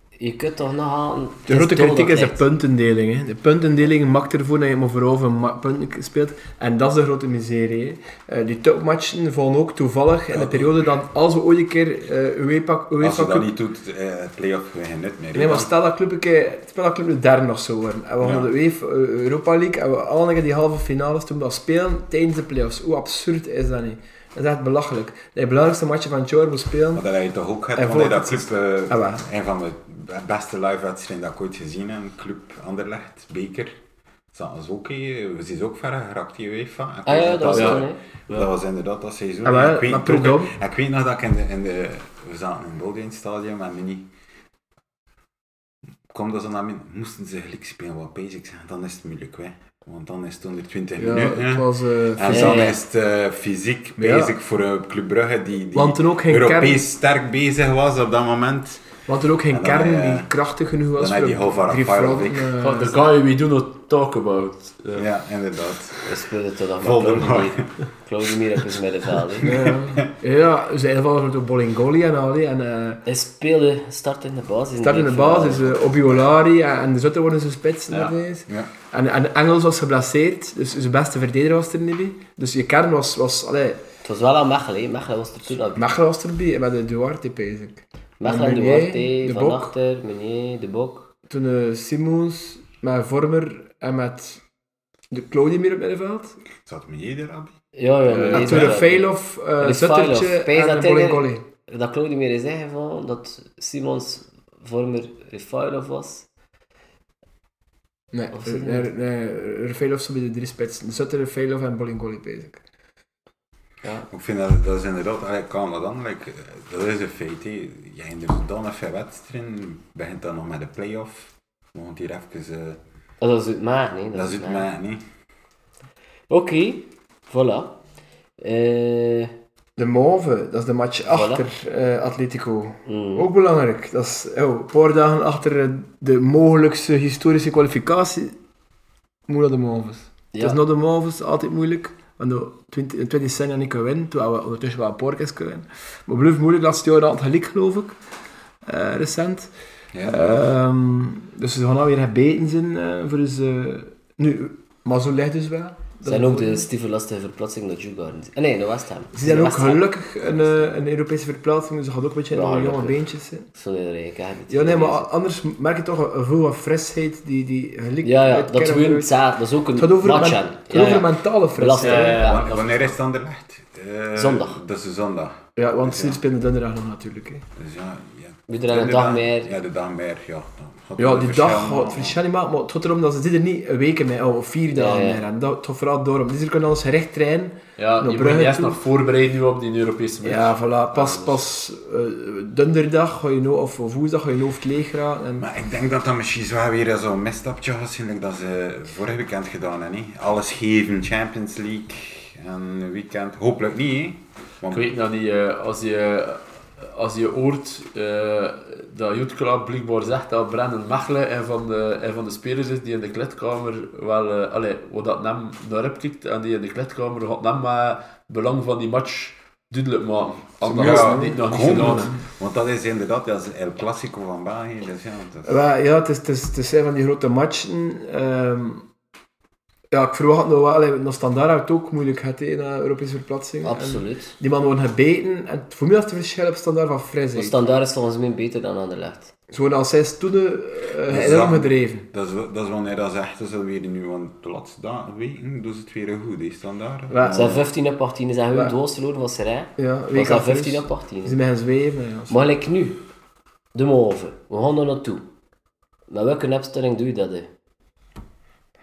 C: je kunt toch nog aan.
B: De grote kritiek is de puntendeling. Hè. De puntendeling maakt ervoor dat je maar voorover ma- punten speelt. En dat is de grote miserie. Hè. Eh, die topmatchen vallen ook toevallig in de periode dat als we ooit een keer eh UEFA
E: Als je
B: UEFA
E: dat
B: Cup...
E: niet doet, eh play-off geen nut meer.
B: Nee, maar stel dat club een keer, stel dat club de derde of zo worden. En we gaan
E: Ja.
B: de UEFA eh, Europa League en we alle een keer die halve finales toen we dat spelen tijdens de playoffs. Hoe absurd is dat niet? Dat is echt belachelijk. Dat je de belangrijkste matchen van het jaar moet spelen.
E: Maar dat heb je toch ook
B: En
E: gehad, want
B: voor-
E: dat club, eh,
B: Ah, waar.
E: een van de beste live-wedstrijden dat ik ooit gezien heb, Club Anderlecht, Beker. Dat is ook, eh, we zijn ook verder geraakt die UEFA. Ik
C: Ah
E: weet
C: ja, dat was
E: dat,
C: toen,
E: dat- dat was inderdaad dat seizoen.
B: Ah, wel,
E: En ik, weet
B: maar
E: het ook,
B: Prudhomme-
E: en ik weet nog dat ik in de, in de, we zaten in het Boudewijn Stadium en Mini kwam dat zo naar binnen, moesten ze gelijk spelen wat bezig zijn, dan is het moeilijk hè. Want dan is het onder 20
B: Ja,
E: minuten. hè.
B: het was... eh,
E: En
C: Ja,
E: dan
C: ja.
E: is het eh, fysiek
B: Ja.
E: bezig voor eh, Club Brugge, die, die
B: Want toen ook geen
E: Europees
B: kern-
E: sterk bezig was op dat moment.
B: Want er ook geen
E: En dan,
B: kern
E: eh,
B: die krachtig genoeg
E: dan
B: was
E: heb je
B: voor
E: Alvaro
B: drie
E: Pavlovic.
B: fronten. eh,
D: Daar kan je we do not talk about.
E: Ja,
D: Eh,
E: inderdaad.
C: We speelden tot aan
E: Voldemort.
C: Claudemir. Claudemir op het middenveld. hè.
B: ja, ja, ze invallen door Bolingoli en al die. En, eh,
C: Hij speelde start in de basis.
B: start in de
C: denk
B: basis,
C: ik.
B: eh, Obiolari en, en de Zutten worden ze spits.
D: Ja.
B: ineens.
E: Ja.
B: En, en Engels was geblesseerd, dus zijn beste verdediger was er niet bij. Dus je kern was, was allee,
C: Het was wel aan Mechelen. hè. Mechelen was er toen al.
B: Mechelen was erbij, met de Duarte, basic.
C: Mechelen,
B: Meunier,
C: Duarte,
B: De
C: Van
B: Bok.
C: Achter, Meunier, De Bok.
B: Toen eh, Simons met Vormer en met de Claudemir op middenveld.
E: Zat me hier er, Abi?
C: Ja, ja,
D: Eh,
C: Meunier
B: En
C: is
B: toen
C: wel-
B: de Feilhof, eh,
C: Die
B: Zuttertje
C: Feilhof. Pees
B: en
C: dat
B: de
C: hij-
B: Bolingoli.
C: dat Claudemir is ingevallen, dat Simons vormer Refailov was.
B: Nee,
C: Of
B: eh,
C: zit
B: nee, nee, Rafaelov zo bij de drie spitsen. Zutter, Rafaelov en Bolingoli bezig.
E: Ik vind dat, dat is inderdaad, allee, ik kan dat dan, like, eh, dat is een feit. hè. Je hebt er dan even wedstrijden, begint dan nog met de play-off. We gaan het hier even, eh,
C: Ah, Dat is het maar, nee.
E: dat is het
C: Maag.
E: mij niet.
C: Oké, voilà. Eh,
B: De Mauve, dat is de match achter eh, Atletico.
C: Mm.
B: Ook belangrijk. Dat is oh, een paar dagen achter eh, de mogelijkste historische kwalificatie. Moet dat de Mauves.
C: ja.
B: Het is nog de Mauves, altijd moeilijk. Want de 20 in 20 zijn en ik kunnen winnen, terwijl we ondertussen wel een paar keer kunnen winnen. Maar blijft moeilijk, laatste jaar had gelijk, geloof ik. Eh, recent.
E: Ja.
B: Ehm, dus ze gaan alweer gebeten zijn eh, voor dus, nu, maar zo ligt dus wel.
C: Ze zijn ook de stieve lastige verplaatsing naar Jugard. Ah, nee, naar West Ham.
B: Ze zijn ook
C: West Ham.
B: gelukkig een, eh, een Europese verplaatsing, dus ze gaat ook een beetje
C: Ja,
B: in de jonge
C: gelukkig.
B: beentjes zitten.
C: Sorry, Rick, ik heb het
B: Ja, nee, maar
C: gelezen.
B: anders merk je toch een- een gevoel van frisheid die, die gelikt
C: Ja, ja,
B: uit
C: dat
B: kern-
C: wint zaad. Dat is ook een
B: Het gaat over,
C: match
B: men-
C: aan.
B: het gaat
C: Ja,
B: over
C: ja.
B: mentale
C: Belasting.
B: frisheid.
C: Ja, ja, ja.
E: Wa- Wanneer is het dan de licht? Eh,
C: Zondag.
E: Dat is de zondag.
B: Ja, want ze spelen donderdag nog natuurlijk. Hè.
E: Dus ja, ja.
C: Doe er dan een dag meer.
E: Ja, de dag meer, ja. Dan gaat
B: Ja,
E: het
B: die
E: verschil
B: dag gaat het
E: maken.
B: verschil niet maken, maar het gaat erom dat ze dit er niet een week mee houden, of vier dagen
C: Ja, ja.
B: mee hebben. Dat het gaat vooral door. Dus er kunnen ons recht trainen.
D: ja,
B: Naar
D: je moet
B: Brugge
D: je eerst
B: toe.
D: nog voorbereiden nu op die Europese match.
B: Ja, voilà. Pas, pas eh, donderdag ga je nou, of of woensdag ga je hoofd leeg raken. En...
E: Maar ik denk dat dat misschien zo weer zo'n misstapje was, gelijk dat ze vorig weekend gedaan hebben. hè. Alles geven, Champions League en weekend. Hopelijk niet, hè?
D: Ik
E: Want
D: weet dat niet, eh, als je, als je hoort eh, dat Jude Club blijkbaar zegt dat Brandon Mechelen een van de, een van de spelers is die in de kleedkamer wel, eh, allee, wat dat hem naar op kijkt en die in de kleedkamer gaat hem maar belang van die match duidelijk maken. Anders
E: Ja,
D: is het niet, nog niet
E: gewoon.
D: gedaan.
E: Want dat is inderdaad dat is El Clasico van België. Dus ja, dat is-
B: Wel, ja, het is, het, is, het is een van die grote matchen. Ehm, ja, ik verwacht nog wel, eh, nog standaard had het ook moeilijk gehad hè, na Europese verplaatsing. En
C: Absoluut.
B: Die man worden gebeten en het- voor mij was het verschil op standaard van
C: Maar
B: frisheid.
C: standaard is volgens mij beter dan Anderlecht.
B: Zo als zij stonden, eh
E: Dus
B: enorm
E: dat-
B: gedreven.
E: dat, is, wel- dat is wanneer dat zegt, dat is alweer nu, want de laatste da- weken doen ze het weer goed, is standaard.
B: Wel,
C: Ze zijn 15 op 18. Ze zijn hun
B: Ja.
C: doos verloren van Serijn.
B: Ja,
C: Was
B: week
C: dat
B: af rust.
C: 15 op 18?
B: Ze zijn zweven. Ja.
C: Maar gelijk nu, de Mauve, we gaan er naartoe. Met welke opstelling doe je dat? hè?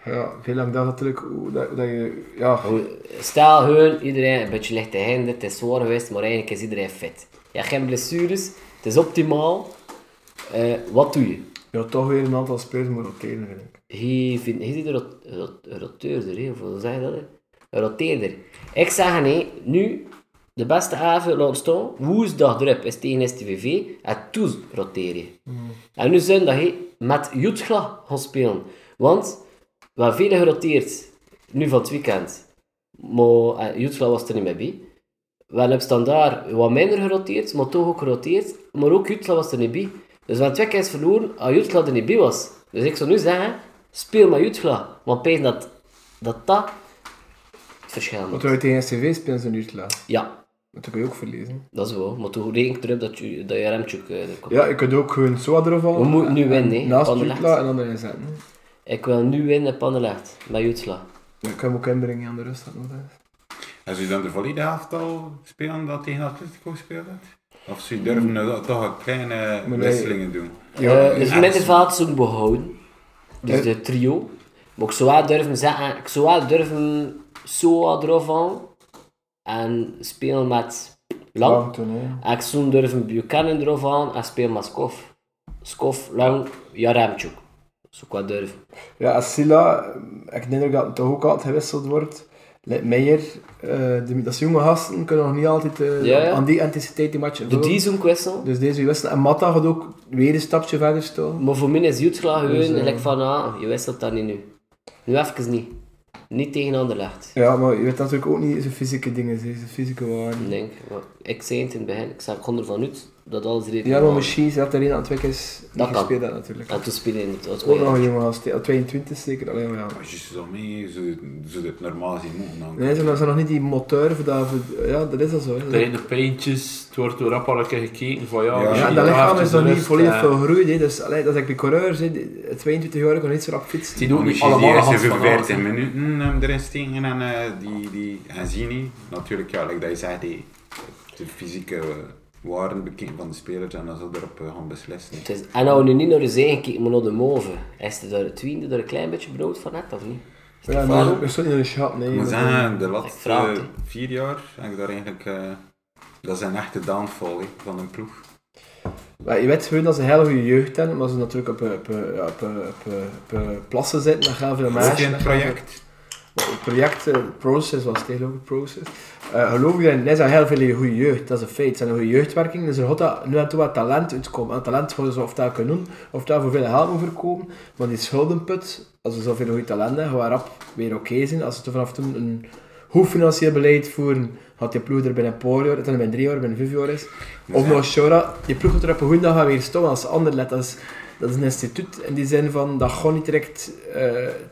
B: Ja, veel lang dat natuurlijk, hoe dat, hoe dat je, ja,
C: Hoe- Stel gewoon, iedereen een beetje licht te hinder, het is zwaar geweest, maar eigenlijk is iedereen fit. Je hebt geen blessures, het is optimaal. Eh, wat doe je?
B: ja, toch weer een aantal spelers moet roteren, vind ik.
C: Je vindt, je ziet een rot- rot- een roteurder, hè, of hoe zeg je dat? hè? Een roteerder. Ik zeg nee, nu de beste avond laat staan, woensdag erop is tegen STVV en toen roteer je. En nu zondag hé, met Jutgla gaan spelen. Want we hebben veel geroteerd nu van het weekend, maar eh, Jutgla was er niet meer bij. We hebben op standaard wat minder geroteerd, maar toch ook geroteerd. Maar ook Jutla was er niet bij. Dus we hebben twee keer verloren als Jutla er niet bij was. Dus ik zou nu zeggen, speel met Jutla. Want pijn dat dat, dat het verschil
B: Want
C: maakt.
B: wij tegen CV spelen ze nu te laat.
C: Ja,
B: Dat kun je ook verliezen.
C: dat is wel. Maar toen reken ik erop dat je, dat je Remtjuk eh, er komt.
B: Ja, je kunt ook gewoon zo erop vallen.
C: We moeten nu
B: en-
C: winnen, hè.
B: en Naast
C: Anderlecht.
B: Jutla en dan erin zetten.
C: Ik wil nu winnen op Anderlecht, met Jutla.
B: Maar ik kan hem ook inbrengen aan de rust. dat nog eens.
E: En zou je dan de valide helft al spelen dat tegen Atletico speelt? Of zou je durven dat toch een kleine
B: Maar nee.
E: wisselingen doen?
C: Eh, dus
E: ja,
C: mijn
E: dat is-
C: vaat zoeken behouden. Dus
B: Eh.
C: de trio. Maar ik zou wel durven zeggen, ik zou wel durven Soa erop halen. En spelen met Lang.
B: Lang toen, hè.
C: En ik zou durven Buchanan erop halen en spelen met Skof. Skof, Lang, Jaremchuk. Zo qua durven.
B: Ja, als Silla, ik denk ook dat het toch ook altijd gewisseld wordt. Lijkt Meijer, eh, die- dat zijn jonge gasten, kunnen nog niet altijd eh,
C: Ja, ja.
B: aan die intensiteit die matchen
C: De
B: vullen.
C: die zo'n kwestel.
B: Dus deze wisselen. En Matta gaat ook weer een stapje verder staan.
C: Maar voor mij is Jutla gewoon
B: Dus, eh,
C: gelijk van, ah, je wisselt dat niet nu. Nu even niet. Niet tegen Anderlecht.
B: Ja, maar je weet natuurlijk ook niet zijn fysieke dingen, zijn zijn fysieke waarden.
C: Ik denk, maar ik zei het in het begin, ik zei, ik kon ervan uit dat alles redelijk
B: Ja, maar
C: was.
B: misschien zat er één aan twee keer niet
C: Dat kan.
B: gespeeld had natuurlijk.
C: En toen speelde hij in het was
B: Ook nog
C: wel-
B: een jongen als 22 zeker. Alleen maar ja.
E: Als je zo mee, zou zou het normaal zien moeten dan.
B: Nee, ze zijn nog niet die motor voor dat. voor- Ja, dat is al zo. hè.
D: Kleine pijntjes, het wordt door Rappel een keer gekeken van ja...
E: Ja, dus
B: Ja, en
D: misschien
B: dat lichaam
D: even
B: is nog
D: de
B: niet
D: rust,
B: volledig
D: eh,
B: veel groeid. hè. Dus allee, dat is eigenlijk de coureurs. hè. Die- het 22 jaar kan niet zo rap fietsen.
D: Het zijn ook niet
E: Misschien die
D: allemaal
E: eerste
D: Hans van
E: 45
D: Aert.
E: minuten ehm, erin steken en eh, die, die Hazzini. Natuurlijk, ja, like dat je zegt, die, de fysieke eh, waarden bekend van de spelers en dan zal erop eh, gaan beslissen.
C: Het is- En nou we nu niet naar de zee kijken, maar naar de moven. Is er daar het wiende er een klein beetje brood van net, of niet?
B: Ja, maar er stond niet in de schat, nee.
E: Ik moet
B: Dat-
E: zeggen, de
C: Ik
E: laatste
C: vraag het, hè.
E: vier jaar heb ik daar eigenlijk... eh, dat is een echte downfall hè, van een ploeg.
B: Maar je weet gewoon dat ze een hele goede jeugd hebben, maar ze natuurlijk op, eh, op, eh, ja, op, eh, op, eh, op, eh, plassen zitten, dan gaan veel
E: Ook
B: meisjes.
E: in het
B: dan gaan veel-
E: project.
B: Het project, eh, Process was het tegenwoordig, Process. Eh, geloof je, er zijn heel veel goede jeugd, dat is een feit. Ze hebben een goede jeugdwerking, dus er gaat dat nu en toe wat talent uitkomen. En talent gaan ze of dat kunnen doen, of daar voor veel geld moet voorkomen. Maar die schuldenput, als ze zoveel goede talenten hebben, gaan we rap weer oké zijn. Als ze er vanaf toen een goed financieel beleid voeren, gaat die ploeg er binnen een paar jaar, dat dan binnen drie jaar, binnen vijf jaar is. Of nog Shora, die ploeg gaat er op een goede dag gaan weer staan als ander let. Dat is, dat is een instituut in die zin van dat gewoon niet direct eh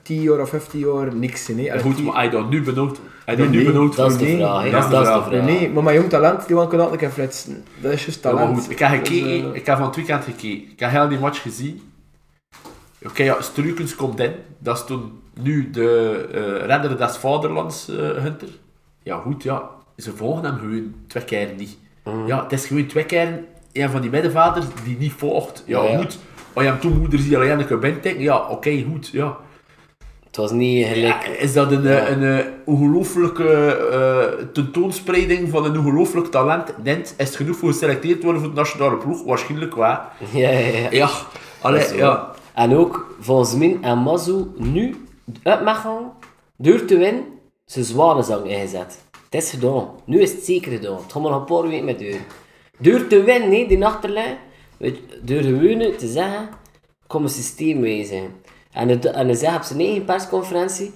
B: 10 jaar of 15 jaar niks in. hè. Allee,
D: Goed,
B: tien-
D: maar hij dat nu benoemd. Hij dat
B: Nee,
D: nu benoemd.
C: Dat is de
B: Nee,
C: vraag, hè.
D: dat is de
C: Dat is de
D: vraag.
C: vraag.
B: Nee, maar mijn jong talent, die kan altijd een flitsen. Dat is juist
D: Ja,
B: talent.
D: maar goed, ik heb gekeken,
B: Dus, eh,
D: ik heb van het weekend gekeken. Ik heb heel die match gezien. Oké, ja, Strukens komt in. Dat is toen nu de eh, redder des vaderlands, eh, Hunter. Ja goed, ja. Ze volgen hem gewoon twee keer niet.
B: Mm.
D: Ja, het is gewoon twee keer een van die middenvaders die niet volgt. Ja,
C: Ja, ja.
D: goed. Als je hem toen moeder ziet alleen een bent denken, ja, oké, goed, ja.
C: Het was niet
D: Ja,
C: gelijk.
D: Is dat een, eh, een, eh, ongelooflijke eh, tentoonspreiding van een ongelooflijk talent? Nent, is het genoeg voor geselecteerd worden voor de nationale ploeg? Waarschijnlijk wel.
C: Ja, ja, ja.
D: Ja,
C: Dat is
D: allee,
C: zo.
D: ja.
C: En ook, volgens Min en Mazou, nu uit mag gaan, door te winnen, zijn zwanenzang ingezet. Het is gedaan. Nu is het zeker gedaan. Het gaat maar nog een paar weken met deur. Door te winnen, hè, die achterlijn. Weet je, Door gewoon te zeggen, kom een systeem wijzigen. En het, en het zeggen op zijn eigen persconferentie,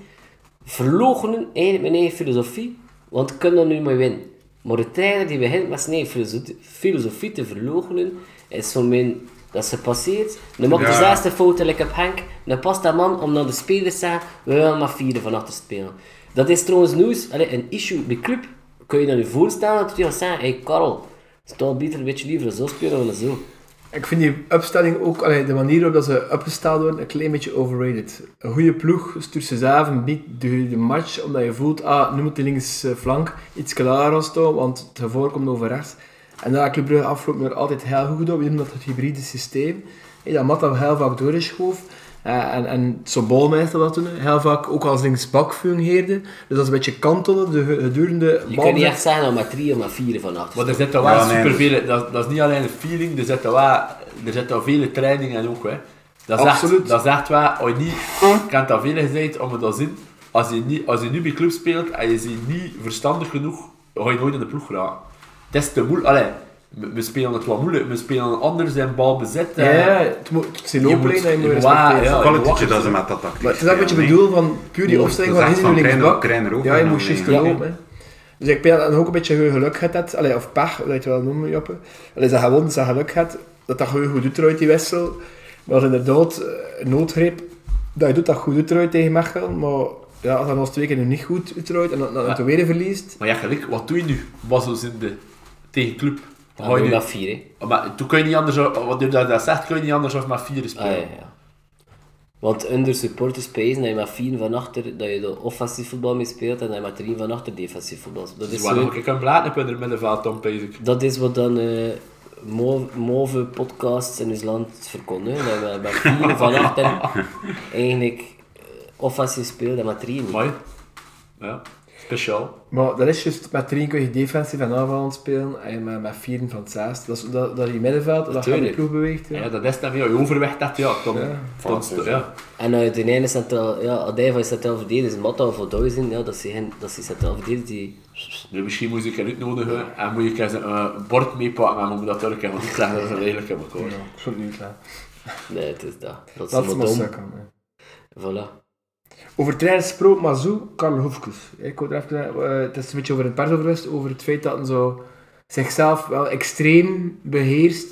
C: verloochenen eigenlijk mijn eigen filosofie, want ik kan er nu mee winnen. Maar de trainer die begint met zijn eigen filosof- filosofie te verloochenen, is voor mij dat ze passeert. Dan maakt
E: Ja.
C: de zesde fout like op Henk, dan past dat man om naar de spelers te zeggen, we willen maar vieren van achter spelen. Dat is trouwens nieuws, Allee, een issue, de club, kun je je dat nu voorstellen dat die gaan zeggen, hey Karel, het is toch beter een beetje liever zo spelen dan zo.
B: eh, Ik vind die opstelling ook, allee, de manier waarop dat ze opgesteld worden, een klein beetje overrated. Een goede ploeg stuurt ze zelf een biedt de, de match, omdat je voelt, ah, nu moet de linksflank iets klaar gaan staan, want het gevoel komt over rechts. En dat Club Brugge afgelopen jaar altijd heel goed gedaan, omdat het hybride systeem, hé, dat Matta heel vaak door is schoof. Eh, en, en zo'n balmeester dat toen, heel vaak ook als linksbak fungeerde. Dus dat is een beetje kantelen, de ge- gedurende
C: Je kunt niet
B: balbezit.
C: echt zeggen dat maar drie of maar vier van achter
D: Maar er zit wel
E: Ja, nee.
D: superveel... Dat, dat is niet alleen een feeling, er zit wel, er zit wel vele trainingen ook, hè. Dat is
B: Absoluut.
D: Echt, dat is echt wel... Als je niet... Ik heb het al veel gezegd, om het te zien. Als je, niet, als je nu bij club speelt en je ziet niet verstandig genoeg, ga je nooit in de ploeg geraken. Het is te moeilijk. Allee, we, we spelen het wat moeilijk. We eh. spelen anders en bal bezet.
B: Ja, ja, het moet het is een
D: Je
B: loopleen
D: moet-
B: dat je moet
D: je-
B: respecteren.
D: ja, ja.
E: Het
D: wacht,
E: kwaliteit dat ze
D: zo.
E: met dat tactiek
B: Maar het is ook wat je
E: spelen, hè.
B: bedoelt van puur die
E: Ja,
B: opstelling
E: dat
B: van
E: is
B: hij
E: echt
B: is nu
E: van
B: linksbak.
E: trainer- trainer ook,
B: Ja, je
E: en
B: moet
E: dan
B: juist
E: links.
B: lopen. hè. Dus ik denk dat je ook een beetje gewoon geluk hebt, allee, of pech, hoe je het wel noemen, Joppe. Allee, dat je gewoon dat je geluk hebt, dat dat gewoon goed doet eruit, die wissel. Maar als inderdaad eh, een noodgreep, dat je doet dat goed doet eruit tegen Mechelen, maar ja, als dat ons twee keer nu niet goed uitrooit en dan, dan
D: Ja.
B: het weer verliest,
D: Maar ja, gelijk, wat doe je nu? Basels in de tegenclub.
C: Dan
D: Wat ga
C: doe
D: je
C: je
D: nu?
C: dat vier, hè.
D: Maar toen kun je niet anders, wat je daar dat zegt, kun je niet anders als maar vier
C: Ah, ja,
D: spelen.
C: ja. Want onder supporters pezen dat je met vier van achter, dat je de offensief voetbal mee speelt en dat je met drie van achter defensief voetbal speelt. Dat
D: Dus
C: is,
D: waar
C: zo-
D: ik een blaad heb in het middenveld, dan pees ik.
C: dat is wat dan eh, mo- move podcasts in ons land verkondigen. Dat je met- met vier van achter eigenlijk eh, offensief speelt en met drie niet.
D: Mooi. Ja, speciaal.
B: maar dat is juist met drie kun je defensief en aanvallend spelen en met, met vieren van het zesde. Dat is dat, dat je middenveld, dat je de
D: Natuurlijk.
B: ploeg beweegt. Ja.
D: Ja, dat is dan weer, je overweg dat, ja, dan...
B: Ja.
D: dan ja.
C: En uit de ene centraal, ja, Adij van centraal verdedigers, Matta of Odoi ja, dat zijn, dat zijn centraal verdedigers die...
D: Nu, Dus misschien moet ik eruit nodigen en moet ik eens een eh, bord meepakken en moet dat terug want ik krijg dat redelijk in elkaar.
B: Ja, ik vond het niet klaar.
C: Nee, het is dat. Dat
B: Dat
C: is
B: is
C: allemaal
B: maar
C: dom.
B: zakken, hè.
C: Voilà.
B: Over trainers gesproken, maar zo, Karl Hoefkes. Ik wou er even, eh, het is een beetje over het pers over rust, over het feit dat hij zo zichzelf wel extreem beheerst,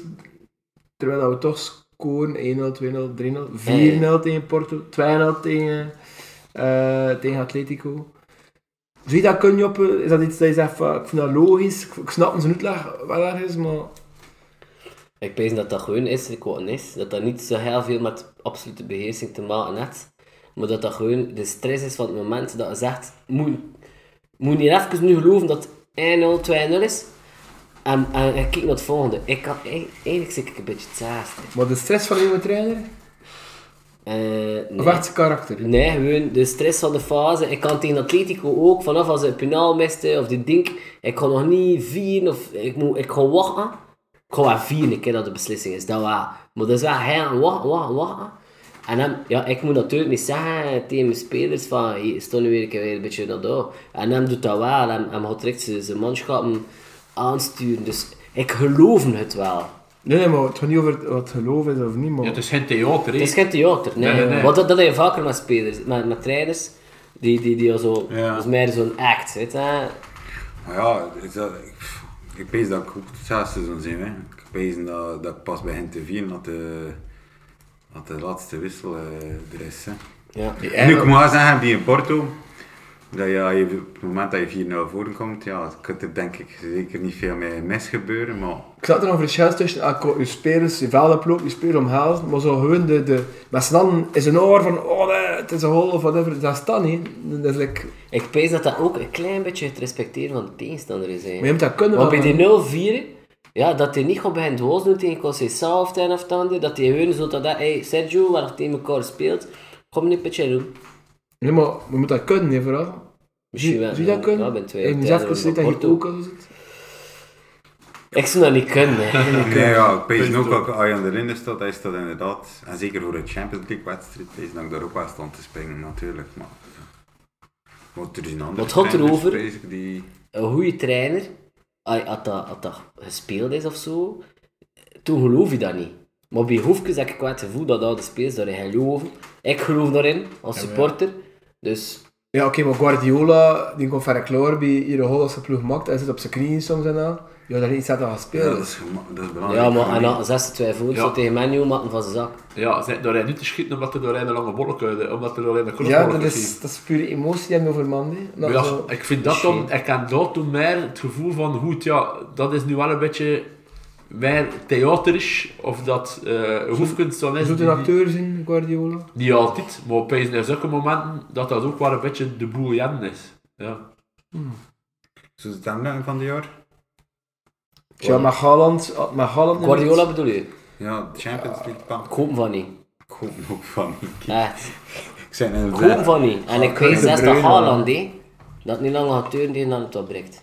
B: terwijl dat we toch scoren 1-0, 2-0, 3-0, 4-0 tegen Porto, 2-0 tegen, eh, tegen Atletico. Zie je dat kun je op, is dat iets dat je zegt van, ik vind dat logisch, ik, ik snap zijn uitleg wel ergens, maar...
C: Ik denk dat dat gewoon is wat het is. Dat dat niet zo heel veel met absolute beheersing te maken heeft. Maar dat dat gewoon de stress is van het moment dat je zegt... Moet, moet niet even nu geloven dat het 1-0, 2-0 is. En, en, en kijk naar het volgende. Ik kan, e-, eigenlijk zit ik een beetje hetzelfde.
B: Maar de stress van een trainer,
C: Eh, nee.
B: of echt zijn karakter?
C: Nee, gewoon de stress van de fase. Ik kan tegen Atletico ook, vanaf als ze een penaal miste of die ding, ik ga nog niet vieren of ik, moet, ik ga wachten. Ik ga wel vieren, ik ken dat de beslissing is, dat wel. Maar dat is wel heel wachten, wachten, wachten. En dan, ja, ik moet natuurlijk niet zeggen tegen mijn spelers van, hier, stond nu weer een keer weer een beetje naar daar. En hem doet dat wel, hem, hem gaat direct zijn, zijn manschappen aansturen. Dus ik geloof het wel.
B: Nee, nee, maar het gaat niet over wat geloof is of niet, maar...
D: Ja, het is geen theater, hè.
C: Het is geen theater, nee.
D: Nee, nee, nee.
C: Want dat, dat heb je vaker met spelers, met, met trainers, die, die, die al zo,
E: Ja.
C: volgens mij zo'n act, weet je.
E: Maar ja, is dat, ik, pff, ik pees dat ik ook het zesde seizoen zijn. Hè. Ik pees dat, dat ik pas begin te vieren dat de, dat de laatste wissel eh, er is. Hè.
C: Ja.
E: nu, ik moet wel zeggen, die in Porto, dat ja, je, op het moment dat je 4-0 voorkomt, ja, kan er denk ik zeker niet veel mee mis gebeuren, maar
B: Ik zat er nog een verschil tussen ah, ko- je spelers, je veld oplopen, je spelers omhelzen, maar zo gewoon de, de met z'n allen is een oor van oh nee, het is een hol of whatever, dat staat niet. Dat is like,
C: Ik pees dat dat ook een klein beetje het respecteren van de tegenstander is.
B: maar je moet dat kunnen.
C: Want bij
B: maar-
C: die 04, ja, dat hij niet gaat bij het hoos doen tegen Conceição of ten of het ander, dat hij hun zo dat, hey, Sergio, waar het tegen elkaar speelt, kom niet petje doen.
B: Nee, maar je moet dat kunnen, hè, vooral.
C: Misschien wel.
B: Zie je dat kunnen?
C: Ja, ben twee.
B: en je zegt precies dat je ook al zit.
C: Ik zou dat niet kunnen, hè.
E: Nee, ja, ik pees
D: Punt
E: ook
D: ook.
E: ook als je aan de Linden staat, dat is dat inderdaad. En zeker voor de Champions League wedstrijd, pees dat ik daar ook wel stond te springen natuurlijk. Maar, maar er is een andere
C: Wat gaat er
E: trainer,
C: over?
E: pees ik, die...
C: een goede trainer, als als dat, als dat gespeeld is of zo, toen geloof je dat niet. Maar bij Hoefkes heb ik wel het gevoel dat de spelers daarin geloven. Ik geloof daarin, als supporter. Dus
B: Ja, oké, maar Guardiola, die komt van de kloor bij iedere hol als de ploeg maakt, hij zit op zijn knieën soms en al. Ja, dat is iets dat hij gaat
E: Ja,
B: spelen.
E: dat is, gema- dat is belangrijk.
C: ja, maar en
E: voor
C: dan 6-2 voor
D: Ja.
C: tegen Menu maken van zijn zak.
D: Ja, ze zijn doorheen niet te schieten omdat er doorheen een lange bollen kunnen, omdat er doorheen een korte
B: ja,
D: bollen
B: dat
D: kunnen
B: is,
D: schieten.
B: dat is pure emotie die hem over Mandy.
D: Maar ja, ik vind dat dan, ik kan dat toen meer het gevoel van, goed, ja, dat is nu wel een beetje meer theaterisch, of dat eh hoefkunst dan is.
B: Zoet een
D: die-
B: acteur zijn, Guardiola.
D: Niet altijd, maar opeens in zulke momenten dat dat ook wel een beetje de boel Jan is. Ja.
E: Zo is het lang van de jaar?
B: Ja, maar Haaland, met Haaland...
C: Guardiola bedoel je?
E: Ja, de Champions League kan
C: Ik hoop van niet.
E: ik hoop ook van. Ik
C: Echt,
E: zijn
C: ik
E: een
C: hoop van niet. En ik weet
B: Kevin
C: zelfs
B: De
C: dat
B: Bruyne,
C: Haaland, hè, dat niet lang gaat duren die dan het wat breekt.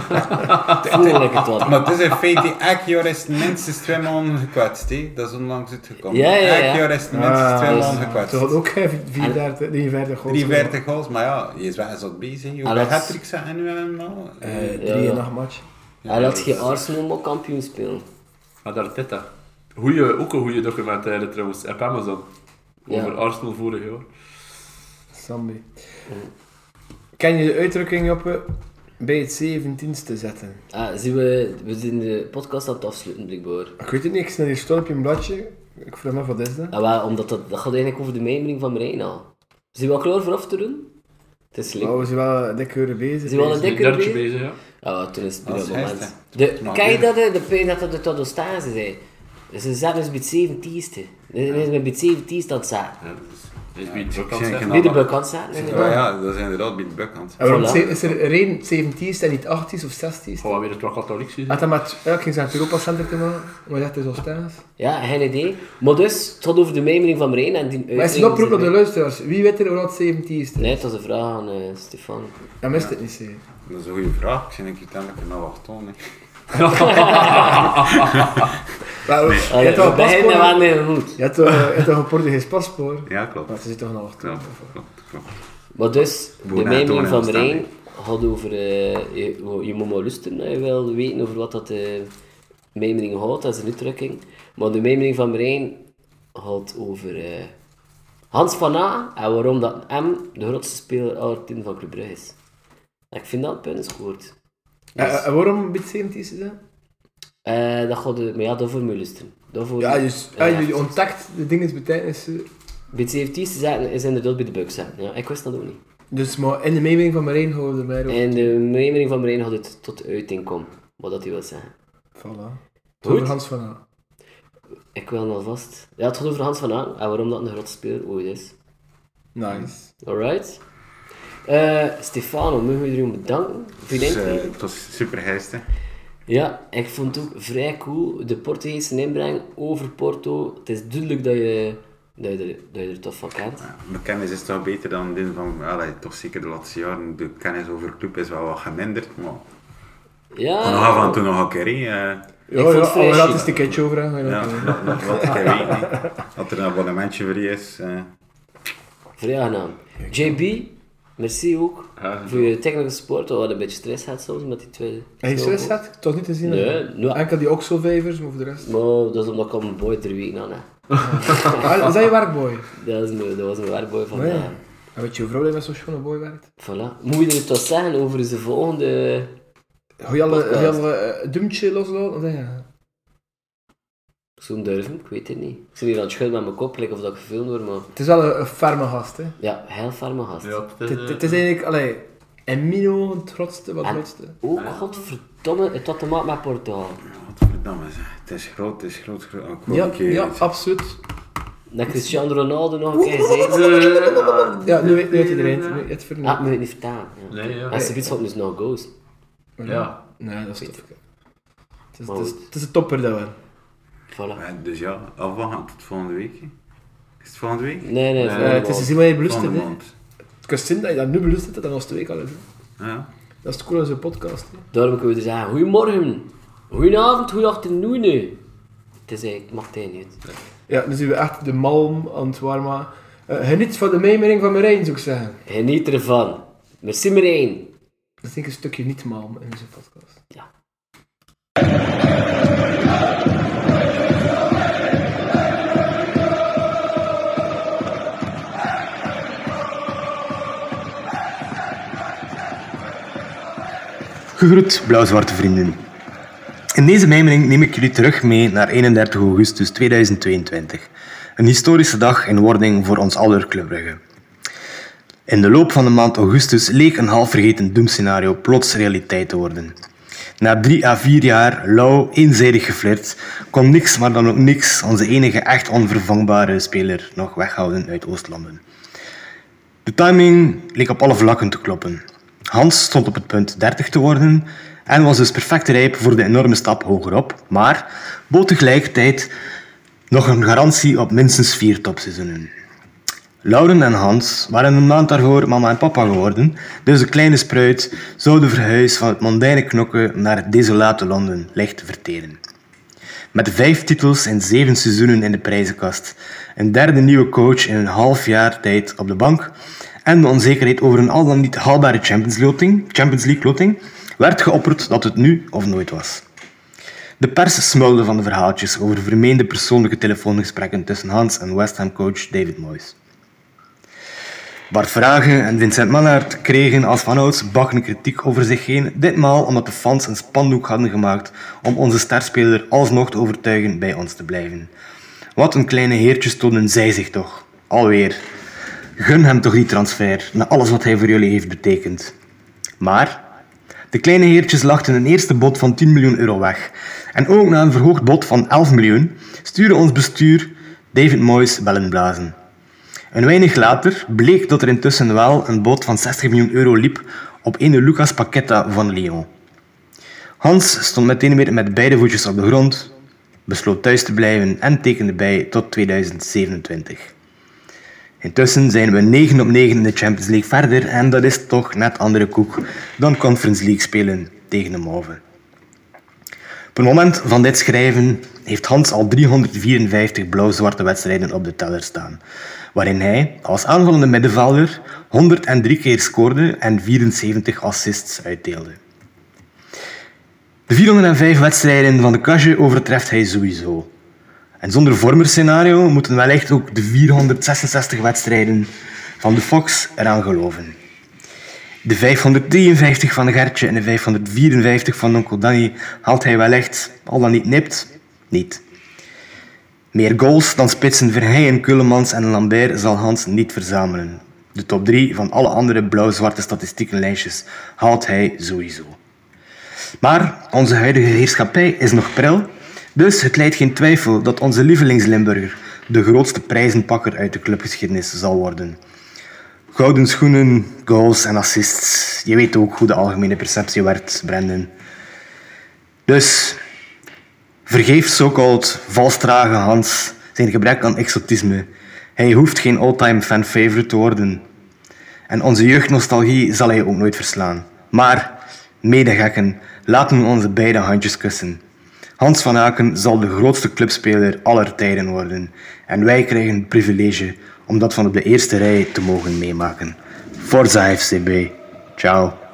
C: Voel ik het wat.
E: Maar het is in feite, elk jaar is minstens twee maanden gekwetst. hè. Dat is onlangs uitgekomen.
C: Ja, ja, ja. Ah, dus-
E: Elk jaar is minstens twee maanden gekwetst.
B: Ze had ook geen 34, 43 goals.
E: 43 goals, maar ja, je is wel eens wat bezig. Hoeveel
C: Alex.
E: hat-tricks zijn er nu helemaal?
B: Eh,
C: Ja,
B: drie
C: ja.
B: in acht match.
C: Hij laat geen Arsenal maar kampioen spelen.
D: Maar daar dit dat. Goeie, ook een goede documentaire trouwens, op Amazon. Over
C: Ja.
D: Arsenal vorig jaar.
B: Sambi. Ken je de uitdrukking op eh, bij het 17 te zetten.
C: Ah, zien we, we zijn de podcast aan het afsluiten, blijkbaar.
B: Ik weet het niet, ik snel hier stond op je bladje. Ik vraag me af, wat is dat?
C: Ah, wel, omdat dat, dat gaat eigenlijk over de mijmering van Marijn al. Zijn we al klaar voor af te doen? Het is
B: Maar
C: slim.
B: we zijn wel een dikke uren bezig.
C: Zijn we al een
D: Een
C: dikke
D: derde
C: bezig?
D: bezig, ja.
C: Ah, wel, toen is het bij
E: Als
C: dat moment.
E: heeft,
C: De,
E: Maar
C: kan je
E: weer.
C: dat, hè? de pijn dat dat de todostase zei? Dus ze zaten dus bij het zeventienste. Ze zijn met het zeventienste aan het zaten.
D: Ja, dat is- dat is niet
E: Ik zie geen
C: Bij de
E: aandacht.
C: bukkant zaten,
E: Ja,
C: inderdaad.
E: ja, dat is inderdaad bij de bukkant.
B: En waarom
C: Voilà.
B: ze- is er één 17 en niet 18 of 16?
D: Gaan we weer het wat katholiek zien?
B: Had dat maar... Ja, ik ging ze naar het Europa Center te maken. Maar dat is al staan.
C: Ja, geen idee. Maar dus, het gaat over de mijmering van Marijn en die
B: Maar is het een oproep naar de luisteraars? Wie weet er hoe dat 17 is?
C: Nee, het was een vraag aan eh, Stefan.
B: Dat mist het niet zeggen.
E: Dat is een goede vraag. Ik zie een keer telkens naar wacht tonen.
B: Maar je
C: Ah, ja,
B: hebt toch
C: we
B: een
C: beginnen
B: paspoort?
C: wel met goed.
B: Je hebt toch- je hebt toch een Portugees paspoort?
E: Ja, klopt.
B: Maar ze zit toch nog achter.
E: Klopt, klopt, klopt.
C: Maar dus, de
E: Bonato
C: mijmering
E: en
C: van
E: Amsterdam,
C: Marijn gaat over... eh, je, je moet maar luisteren, hè. je wil weten over wat dat de mijmering gaat, dat is een uitdrukking. Maar de mijmering van Marijn gaat over eh, Hans van A en waarom dat M de grootste speler aller tien van Club Brugge is. En ik vind dat een punt is goed.
B: En- en Eh, waarom een beetje 17 is dat?
C: Eh, dat gaat de, maar ja, daarvoor moet je luisteren. Daarvoor,
B: Ja, dus ja, je ontdekt de dingen betekenissen.
C: Bij 17 zaten is inderdaad bij de Bucks zaten. Ja, ik wist dat ook niet.
B: Dus maar in de mening van Marijn houden we er maar op.
C: En de mijmering van Marijn had het tot uiting komen. Wat dat hij wil zeggen.
B: Voilà.
C: Goed.
B: Goed. Hans van A.
C: Ik wil nog vast. Ja, het gaat over Hans van Aan en waarom dat een grote speler ooit is.
B: Nice.
C: Alright. Eh Stefano, mogen we jullie bedanken voor je
E: Dus, eh,
C: inbreng?
E: het was super geest, hè.
C: Ja, ik vond het ook vrij cool. De Portugese inbreng over Porto. Het is duidelijk dat je, dat je, er, dat je er tof van kent.
E: Ja, Mijn kennis is toch beter dan dit van... Allee, toch zeker de laatste jaren. De kennis over club is wel wat geminderd, maar...
B: Oh.
E: Van
C: Ja,
E: af en toe nog een keer, hè. eh.
B: Ja,
C: vond
B: ja,
C: het
B: oh,
C: vrij
B: dat
C: chic.
B: is de catch over. hè.
E: Ja, dat, dat, dat ik weet niet. Dat er een abonnementje voor je is. eh.
C: vrij aangenaam. JB, merci ook
D: Ja,
C: voor je technische support. We hadden een beetje stress gehad soms met die twee.
B: En je stress had? Ik toch niet te zien.
C: Nee,
B: hè.
C: nou-
B: Enkel die oxelvijvers, maar voor de rest.
C: Maar dat is omdat ik al mijn boy ter week aan heb.
B: Ah, is dat je werkboy?
C: Dat, is mijn- dat was mijn werkboy van
B: Nee.
C: eh,
B: En weet je hoe vrouw die met zo'n schone boy werkt?
C: Voilà. Moet je er toch zeggen over zijn volgende...
B: Hoe je alle, hoe je
C: Podcast.
B: alle eh, dumtje loslaat? Wat zeg je?
C: Zo'n durven, ik weet het niet. Ik zit hier aan het schudden met mijn kop, like of dat ik gefilmd word, maar...
B: Het is wel een, een ferme gast, hè.
C: Ja, heel farme gast.
D: Ja, het is,
B: Het,
D: eh,
B: het is eigenlijk, allee, en Mino het trotste wat
C: En-
B: trotste.
C: Ook, Oh, godverdomme, het had te maken met Portugal.
E: Godverdamme, zeg. Het is groot, het is groot, groot. Ik wou
B: Ja,
E: een keer
B: ja,
E: iets-
B: absoluut.
C: Dat Cristiano Ronaldo nog een keer zei...
B: Ja, nu weet, nu weet iedereen het. Nu- Het
C: Ah, ik
B: verneemt.
C: moet het niet vertalen. Ja.
D: Nee, ja.
C: En ze biedt dus nog goals.
D: Ja.
B: Nee, dat is tof. Het is,
C: Ah. Maar
B: het is,
C: goed.
B: het is een topper dat wel.
C: Voilà.
E: Eh, Dus ja, afwachten tot volgende week. hè. Is het volgende week?
C: Nee, nee,
B: Eh, het is te zien wat je belust
E: Volgende
B: hebt. hè.
E: maand.
B: Het kan zin dat je dat nu belust hebt en dan als twee kan doen.
E: Ja.
B: Dat is het cool aan zo'n podcast. hè.
C: Daarom kunnen we dus zeggen, goedemorgen, goedenavond, goedenavond, Het is eigenlijk, mag hij niet.
B: Ja, nu zien we echt de malm aan het warm maken. Eh, geniet van de mijmering van Marijn, zou ik zeggen.
C: Geniet ervan. Merci Marijn.
B: Dat is denk ik een stukje niet malm in onze podcast.
F: Gegroet, blauw-zwarte vrienden. In deze mijmering neem ik jullie terug mee naar 31 augustus 2022. Een historische dag in wording voor ons aller Club Brugge. In de loop van de maand augustus leek een half vergeten doemscenario plots realiteit te worden. Na drie à vier jaar lauw, eenzijdig geflirt, kon niks, maar dan ook niks, onze enige echt onvervangbare speler nog weghouden uit Oostlanden. De timing leek op alle vlakken te kloppen. Hans stond op het punt 30 te worden en was dus perfect rijp voor de enorme stap hogerop, maar bood tegelijkertijd nog een garantie op minstens vier topseizoenen. Lauren en Hans waren een maand daarvoor mama en papa geworden, dus de kleine spruit zouden verhuizen van het mondaine knokken naar het desolate Londen licht verteren. Met vijf titels en zeven seizoenen in de prijzenkast. Een derde nieuwe coach in een half jaar tijd op de bank. En de onzekerheid over een al dan niet haalbare Champions League-loting- Champions League-loting werd geopperd dat het nu of nooit was. De pers smulde van de verhaaltjes over vermeende persoonlijke telefoongesprekken tussen Hans en West Ham coach David Moyes. Bart Vragen en Vincent Mannaert kregen als vanouds bakken kritiek over zich heen, ditmaal omdat de fans een spandoek hadden gemaakt om onze starspeler alsnog te overtuigen bij ons te blijven. Wat een kleine heertjes tonen zij zich toch. Alweer. Gun hem toch die transfer, na alles wat hij voor jullie heeft betekend. Maar de kleine heertjes lachten een eerste bod van 10 miljoen euro weg. En ook na een verhoogd bod van 11 miljoen stuurde ons bestuur David Moyes bellen blazen. Een weinig later bleek dat er intussen wel een bod van 60 miljoen euro liep op ene Lucas Paqueta van Lyon. Hans stond meteen weer met beide voetjes op de grond, besloot thuis te blijven en tekende bij tot 2027. Intussen zijn we 9 op 9 in de Champions League verder en dat is toch net andere koek dan Conference League spelen tegen de Mauve. Op het moment van dit schrijven heeft Hans al 354 blauw-zwarte wedstrijden op de teller staan, waarin hij als aanvallende middenvelder 103 keer scoorde en 74 assists uitdeelde. De 405 wedstrijden van de Kasje overtreft hij sowieso. En zonder vormerscenario moeten wellicht ook de 466 wedstrijden van de Fox eraan geloven. De 553 van Gertje en de 554 van Onkel Danny haalt hij wellicht, al dan niet nipt, niet. Meer goals dan spitsen Verheyen, Kullemans en Lambert zal Hans niet verzamelen. De top 3 van alle andere blauw-zwarte statistiekenlijstjes haalt hij sowieso. Maar onze huidige heerschappij is nog pril, dus het leidt geen twijfel dat onze lievelings-Limburger de grootste prijzenpakker uit de clubgeschiedenis zal worden. Gouden schoenen, goals en assists. Je weet ook hoe de algemene perceptie werd, Brendan. Dus, vergeef Sokold, valstrage Hans, zijn gebrek aan exotisme. Hij hoeft geen all-time fan-favorite te worden. En onze jeugdnostalgie zal hij ook nooit verslaan. Maar, medegekken, laten we onze beide handjes kussen. Hans van Aken zal de grootste clubspeler aller tijden worden. En wij krijgen het privilege om dat van op de eerste rij te mogen meemaken. Forza FCB. Ciao.